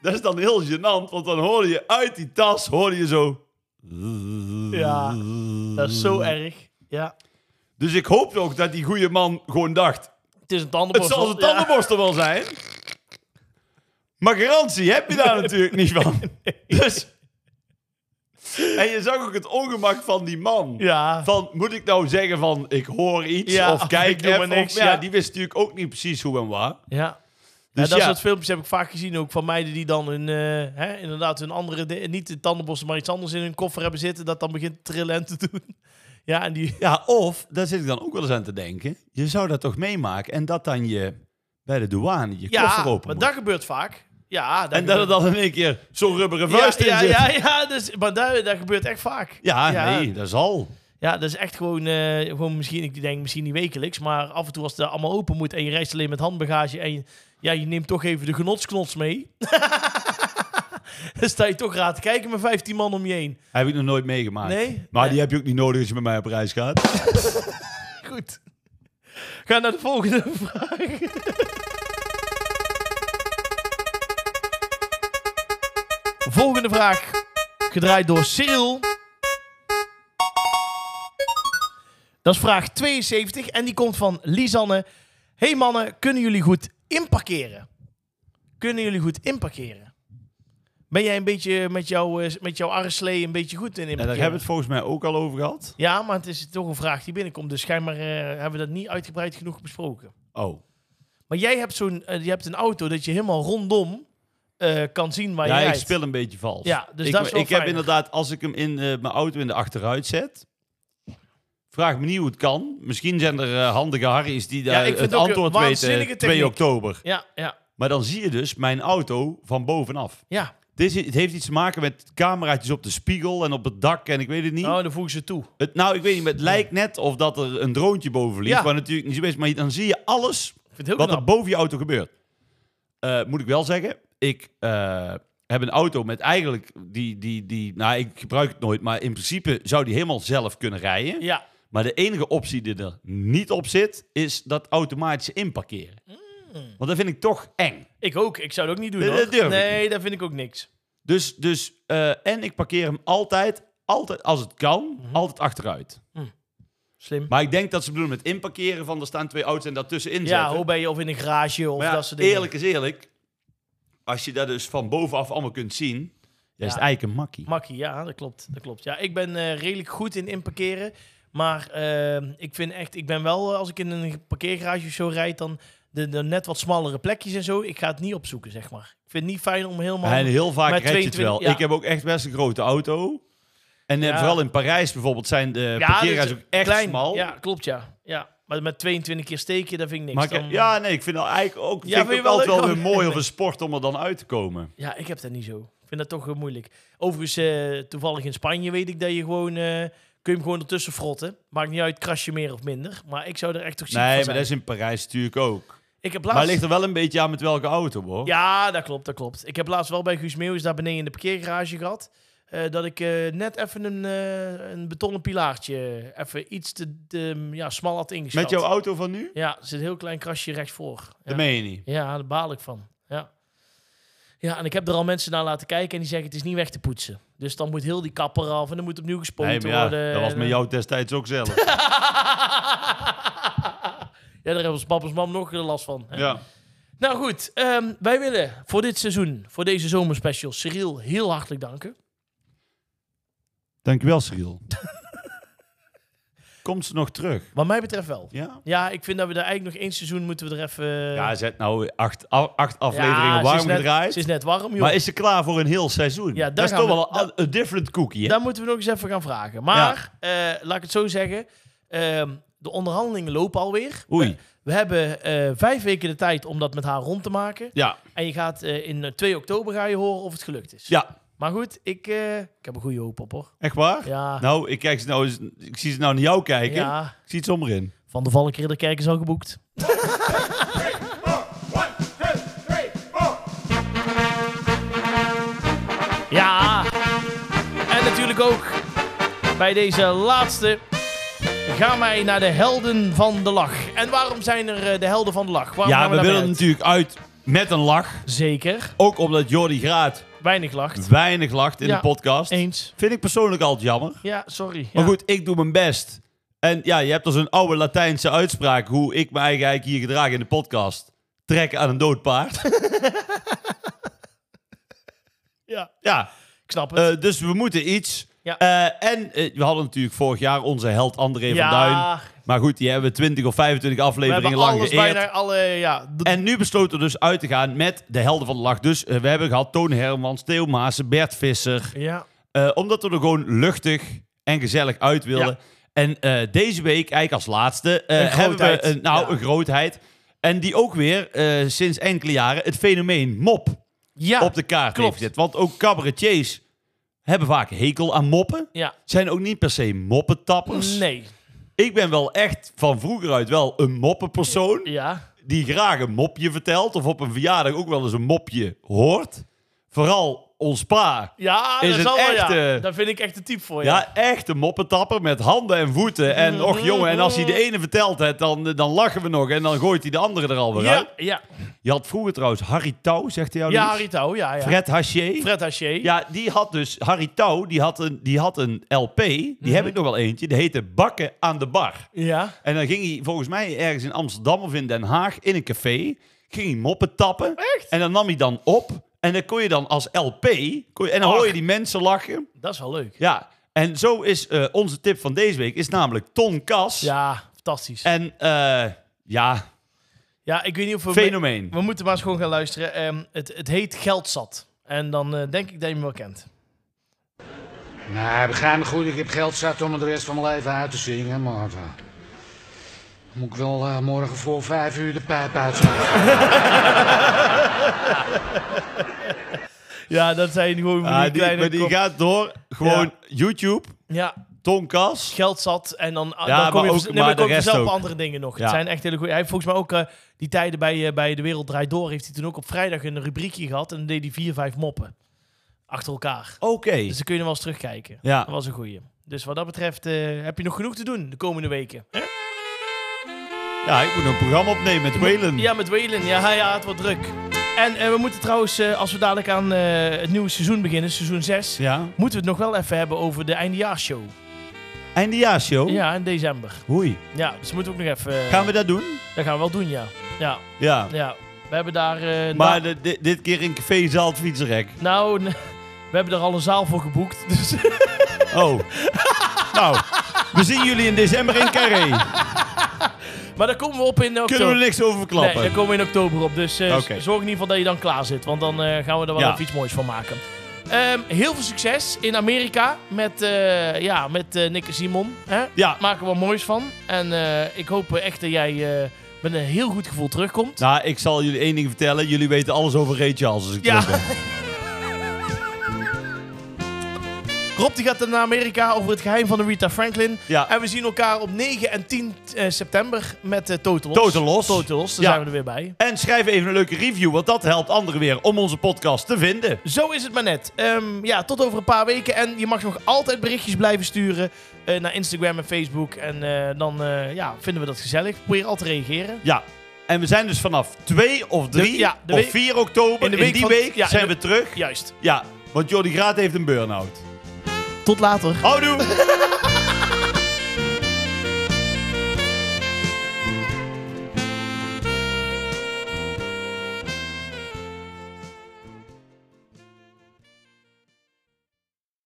B: dat is dan heel gênant, want dan hoor je uit die tas, hoor je zo...
A: Ja, dat is zo erg. Ja,
B: Dus ik hoop ook dat die goede man gewoon dacht,
A: het is een
B: het
A: tandenborstel.
B: zal zijn
A: Ja.
B: tandenborstel wel zijn. Maar garantie heb je daar natuurlijk niet van. Dus... En je zag ook het ongemak van die man.
A: Ja,
B: Van, moet ik nou zeggen van, ik hoor iets
A: Ja,
B: of
A: of
B: kijk
A: ik doe maar
B: even,
A: niks,
B: of, ja,
A: ja.
B: die wist natuurlijk ook niet precies hoe en waar.
A: ja.
B: Dus
A: ja, dat
B: ja.
A: soort filmpjes heb ik vaak gezien ook van meiden die dan hun, eh, hè, inderdaad hun andere, de- niet de tandenbossen, maar iets anders in hun koffer hebben zitten, dat dan begint te trillen en te doen. Ja, en die...
B: Ja, of, daar zit ik dan ook wel eens aan te denken, je zou dat toch meemaken en dat dan je bij de douane je
A: Ja,
B: koffer open
A: maar
B: moet.
A: dat gebeurt vaak. Ja, dat
B: En dat er
A: gebeurt-
B: dan in één keer zo'n rubberen vuist
A: ja,
B: in
A: ja,
B: zit.
A: ja, ja, dus, maar dat, dat gebeurt echt vaak.
B: Ja,
A: ja,
B: nee, dat zal.
A: Ja, dat is echt gewoon, eh, gewoon misschien, ik denk misschien niet wekelijks, maar af en toe als het allemaal open moet en je reist alleen met handbagage en je, ja, je neemt toch even de genotsknots mee. Dan sta je toch raad te kijken met 15 man om je heen.
B: Heb ik nog nooit meegemaakt.
A: Nee?
B: Maar die heb je ook niet nodig als je met mij op reis gaat.
A: Goed. Ga naar de volgende vraag. Volgende vraag. Gedraaid door Cyril. Dat is vraag 72 en die komt van Lisanne. Hey mannen, kunnen jullie goed inparkeren? Kunnen jullie goed inparkeren? Ben jij een beetje met, jou, eh, met jouw arreslee een beetje goed in
B: En daar
A: inparkeren?
B: hebben we het volgens mij ook al over gehad.
A: Ja, maar het is toch een vraag die binnenkomt. Dus schijnbaar eh, hebben we dat niet uitgebreid genoeg besproken.
B: Oh.
A: Maar jij hebt, zo'n, eh, je hebt een auto dat je helemaal rondom eh, kan zien waar
B: Ja,
A: je
B: ik
A: rijdt.
B: speel een beetje vals.
A: Ja, dus
B: ik,
A: dat is wel
B: Ik heb
A: fijner.
B: inderdaad, als ik hem in eh, mijn auto in de achteruit zet, vraag me niet hoe het kan. Misschien zijn er eh, handige harries die daar
A: ik vind
B: het
A: ook een
B: antwoord weten
A: waanzinnige
B: 2
A: techniek.
B: oktober.
A: Ja, ja,
B: Maar dan zie je dus mijn auto van bovenaf.
A: ja.
B: Dit is, het heeft iets te maken met cameraatjes op de spiegel en op het dak en ik weet het niet.
A: Nou, dan voeg ik ze toe.
B: Het, nou, ik weet niet, maar het lijkt net of dat er een droontje boven vliegt.
A: Ja.
B: Waar natuurlijk niet zo is, maar dan zie je alles
A: Ik vind het heel
B: wat er
A: knap.
B: boven je auto gebeurt. Eh, moet ik wel zeggen, ik eh, heb een auto met eigenlijk die, die, die, nou ik gebruik het nooit, maar in principe zou die helemaal zelf kunnen rijden.
A: Ja,
B: Maar de enige optie die er niet op zit, is dat automatische inparkeren.
A: Mm.
B: Want dat vind ik toch eng.
A: ik ook. Ik zou het ook niet doen,
B: Nee,
A: hoor.
B: dat durf ik
A: Nee, daar vind ik ook niks.
B: Dus, dus eh, en ik parkeer hem altijd, altijd als het kan,
A: Mhm.
B: altijd achteruit.
A: Slim.
B: Maar ik denk dat ze bedoelen met inparkeren van er staan twee auto's en daartussenin
A: Ja,
B: zetten.
A: hoe ben je of in een garage of
B: Maar ja,
A: dat soort dingen.
B: eerlijk is eerlijk. Als je dat dus van bovenaf allemaal kunt zien, dan is het eigenlijk een makkie.
A: Makkie, ja, dat klopt. Dat klopt. Ja, ik ben eh, redelijk goed in inparkeren. Maar eh, ik vind echt, ik ben wel, eh, als ik in een parkeergarage of zo rijd, dan de, de net wat smallere plekjes en zo. Ik ga het niet opzoeken, zeg maar. Ik vind het niet fijn om helemaal.
B: en heel vaak
A: met
B: red je het
A: 22
B: wel.
A: ja.
B: Ik heb ook echt best een grote auto. En eh,
A: Ja.
B: vooral in Parijs bijvoorbeeld zijn de
A: Ja,
B: parkeergarages
A: dus
B: ook echt
A: klein.
B: smal.
A: Ja, klopt, ja. ja. Maar met 22 keer steken, dat vind ik niks.
B: Maar ik-
A: Dan-
B: ja, nee, ik vind dat eigenlijk ook,
A: Ja,
B: vind ik
A: vind je
B: ook
A: wel
B: altijd
A: leuk
B: wel weer
A: ook?
B: mooi of een sport om er dan uit te komen.
A: Ja, ik heb dat niet zo. Ik vind dat toch eh, moeilijk. Overigens, eh, toevallig in Spanje weet ik dat je gewoon... eh, kun je hem gewoon ertussen frotten. Maakt niet uit, crash je meer of minder. Maar ik zou er echt toch ziek
B: Nee,
A: van
B: maar
A: zijn.
B: dat is in Parijs natuurlijk ook.
A: Ik heb
B: Maar
A: laatst...
B: het ligt er wel een beetje aan met welke auto, hoor.
A: Ja, dat klopt, dat klopt. Ik heb laatst wel bij Guus Meeuwis daar beneden in de parkeergarage gehad. eh, dat ik eh, net even een, eh, een betonnen pilaartje eh, even iets te, te, ja, smal had ingeschat.
B: met jouw auto van nu?
A: Ja, er zit een heel klein krasje rechtsvoor. Ja.
B: Dat meen je niet.
A: Ja, daar baal ik van. Ja. ja, en ik heb er al mensen naar laten kijken en die zeggen het is niet weg te poetsen. Dus dan moet heel die kapper af en dan moet opnieuw gespoten
B: Nee, maar ja,
A: worden.
B: dat was
A: En,
B: met
A: eh,
B: jou destijds ook zelf.
A: ja, daar hebben ons pap en mam nog eh, last van. hè.
B: ja.
A: Nou goed, ehm, wij willen voor dit seizoen, voor deze zomerspecial, Cyril heel hartelijk danken.
B: Dankjewel, Cyril. Komt ze nog terug?
A: Wat mij betreft wel.
B: Ja?
A: Ja, ik vind dat we daar eigenlijk nog één seizoen moeten we er even...
B: Ja, zet nou acht, a- acht afleveringen
A: Eh, ze is
B: warm
A: net-
B: gedraaid.
A: Ze is net warm, joh.
B: maar is ze klaar voor een heel
A: Ja,
B: seizoen?
A: daar
B: dat is
A: gaan
B: toch
A: we-
B: wel een a- a different cookie, hè?
A: Daar moeten we nog eens even gaan vragen. Maar, eh, laat ik het zo zeggen, ehm, de onderhandelingen lopen alweer.
B: Oei.
A: We hebben eh, vijf weken de tijd om dat met haar rond te maken.
B: Ja.
A: En je gaat eh, in eh, 2 oktober ga je horen of het gelukt is.
B: Ja,
A: Maar goed, ik, eh, ik heb een goede hoop op, hoor.
B: echt waar?
A: Ja.
B: Nou, ik, kijk ze nou eens, ik zie ze nou naar jou kijken.
A: Ja. Oh,
B: Ik zie het zomaar in.
A: Van de Valkenridderkerk is al geboekt. Ja, en natuurlijk ook bij deze laatste gaan wij naar de helden van de lach. En waarom zijn er eh, de helden van de lach? Waarom
B: Ja,
A: gaan
B: we
A: daarmee
B: willen
A: uit?
B: natuurlijk uit met een lach.
A: Zeker,
B: Ook omdat Jordi Graat
A: weinig lacht.
B: weinig lacht in
A: Ja,
B: de podcast.
A: Eens.
B: Vind ik persoonlijk altijd jammer.
A: Ja, sorry.
B: Maar
A: Ja.
B: goed, ik doe mijn best. En ja, je hebt als een oude Latijnse uitspraak hoe ik me eigen eigenlijk hier gedraag in de podcast. Trekken aan een dood paard.
A: Ja,
B: ja,
A: ik snap het.
B: eh, dus we moeten iets.
A: Ja.
B: Eh, en eh, we hadden natuurlijk vorig jaar onze held André
A: ja,
B: van Duin. Maar goed, die hebben we 20 of 25
A: we
B: afleveringen
A: hebben
B: lang
A: alles
B: geëerd.
A: bijna alle... Ja, d-
B: En nu besloten we dus uit te gaan met de helden van de lach. Dus eh, we hebben gehad Toon Hermans, Theo Maassen, Bert Visser.
A: ja.
B: Eh, omdat we er gewoon luchtig en gezellig uit wilden. En eh, deze week, eigenlijk als laatste, eh,
A: Een
B: hebben we
A: grootheid.
B: een, nou,
A: Ja.
B: een grootheid. En die ook weer eh, sinds enkele jaren het fenomeen mop
A: ja.
B: op de kaart
A: Ah, klopt.
B: heeft gezet. Want ook cabaretiers hebben vaak hekel aan moppen.
A: Ja.
B: Zijn ook niet per se moppetappers.
A: Nee.
B: Ik ben wel echt van vroeger uit wel een moppenpersoon.
A: Ja.
B: Die graag een mopje vertelt. Of op een verjaardag ook wel eens een mopje hoort. Vooral ons pa.
A: Ja,
B: Is
A: dat
B: een
A: zal wel, ja.
B: echte-
A: Dat vind ik echt een type voor je.
B: Ja, echt een moppetapper met handen en voeten. En och jongen, en als hij de ene vertelt het, dan, dan lachen we nog. En dan gooit hij de andere er alweer uit.
A: ja. Ja,
B: Je had vroeger trouwens Harry Touw, zegt hij jou
A: ja
B: niet?
A: Harry Touw, ja, ja.
B: Fred Haché.
A: Fred Haché.
B: Ja, die had dus, Harry Touw, die had een, die had een LP. Die
A: Mhm.
B: heb ik nog wel eentje. Die heette Bakken aan de Bar.
A: Ja.
B: En dan ging hij volgens mij ergens in Amsterdam of in Den Haag in een café. Ging hij moppen tappen.
A: Echt?
B: En dan nam hij dan op. En dan kon je dan als LP, kon je, en dan hoor je
A: Ach.
B: die mensen lachen.
A: Dat is wel leuk.
B: Ja, en zo is eh, onze tip van deze week is namelijk Ton Kas.
A: Ja, fantastisch.
B: En eh, ja,
A: Ja, ik weet niet of we...
B: Fenomeen.
A: We moeten maar eens gewoon gaan luisteren. Ehm, het, het heet Geldzat. En dan eh, denk ik dat je hem wel kent.
E: Nou, begrijp me goed, ik heb geld zat om het de rest van mijn leven uit te zingen, maar... eh, moet ik wel eh, morgen voor vijf uur de pijp uitslaan.
A: Ja, dat zijn gewoon van
B: Ah,
A: die
B: die,
A: kleine...
B: maar die
A: kop-
B: gaat door. Gewoon YouTube,
A: Ja,
B: Tonkas.
A: Geldzat. En dan, ah,
B: Ja,
A: dan kom
B: maar
A: je,
B: ook-
A: nee,
B: maar
A: dan
B: de
A: kom je
B: rest
A: zelf op
B: ook.
A: andere dingen nog.
B: Ja.
A: Het zijn echt hele goede... Hij heeft volgens mij ook eh, die tijden bij, eh, bij De Wereld Draait Door... heeft hij toen ook op vrijdag een rubriekje gehad. En dan deed hij vier, vijf moppen. Achter elkaar.
B: Oké.
A: Dus dan kun je nog wel eens terugkijken.
B: Ja.
A: Dat was een goeie. Dus wat dat betreft eh, heb je nog genoeg te doen de komende weken.
B: Ja, ik moet nog een programma opnemen met Whalen.
A: Ja, met Waylon. Ja, ja, het wordt druk. En eh, we moeten trouwens, eh, als we dadelijk aan eh, het nieuwe seizoen beginnen, seizoen 6,
B: ja.
A: moeten we het nog wel even hebben over de eindejaarsshow.
B: Eindejaarshow.
A: Ja, in december.
B: Hoi.
A: Ja, dus moeten we ook nog even... eh,
B: Gaan we dat doen?
A: Dat gaan we wel doen, ja. Ja,
B: Ja.
A: ja. We hebben daar... eh,
B: Maar
A: na-
B: de- di- dit keer in Café Zaal het fietsenrek.
A: Nou, n- we hebben daar al een zaal voor geboekt. Dus
B: Oh. nou, we zien jullie in december in Carré.
A: maar daar komen we op in oktober.
B: Kunnen we er niks over
A: Nee,
B: verklappen?
A: daar komen we in oktober op. Dus eh,
B: Oké.
A: zorg in ieder geval dat je dan klaar zit. Want dan eh, gaan we er wel
B: Ja.
A: even iets moois van maken. Ehm, heel veel succes in Amerika met, eh, ja, met eh, Nick en Simon. Hè?
B: ja.
A: Maken we wat moois van. En eh, ik hoop eh, echt dat jij eh, met een heel goed gevoel terugkomt.
B: Nou, ik zal jullie één ding vertellen. Jullie weten alles over Ray Charles. Als ik
A: Ja.
B: terug ben. Nou.
A: Rob die gaat dan naar Amerika over het geheim van de Rita Franklin.
B: Ja.
A: En we zien elkaar op 9 en 10 eh, september met eh Total Loss.
B: Total Loss.
A: Total Loss, daar
B: Ja.
A: zijn we er weer bij.
B: En schrijf even een leuke review, want dat helpt anderen weer om onze podcast te vinden.
A: Zo is het maar net. Ehm, ja, tot over een paar weken. En je mag nog altijd berichtjes blijven sturen eh, naar Instagram en Facebook. En eh, dan eh, ja, vinden we dat gezellig. Probeer altijd te reageren.
B: Ja. En we zijn dus vanaf 2 of 3
A: De- ja, de
B: of
A: week-
B: 4 oktober,
A: in
B: in,
A: de week
B: die
A: van-
B: week,
A: ja,
B: zijn
A: in de-
B: we terug.
A: Juist.
B: Ja, want Jordi Graat heeft een burn-out.
A: Tot later.
B: Houdoe!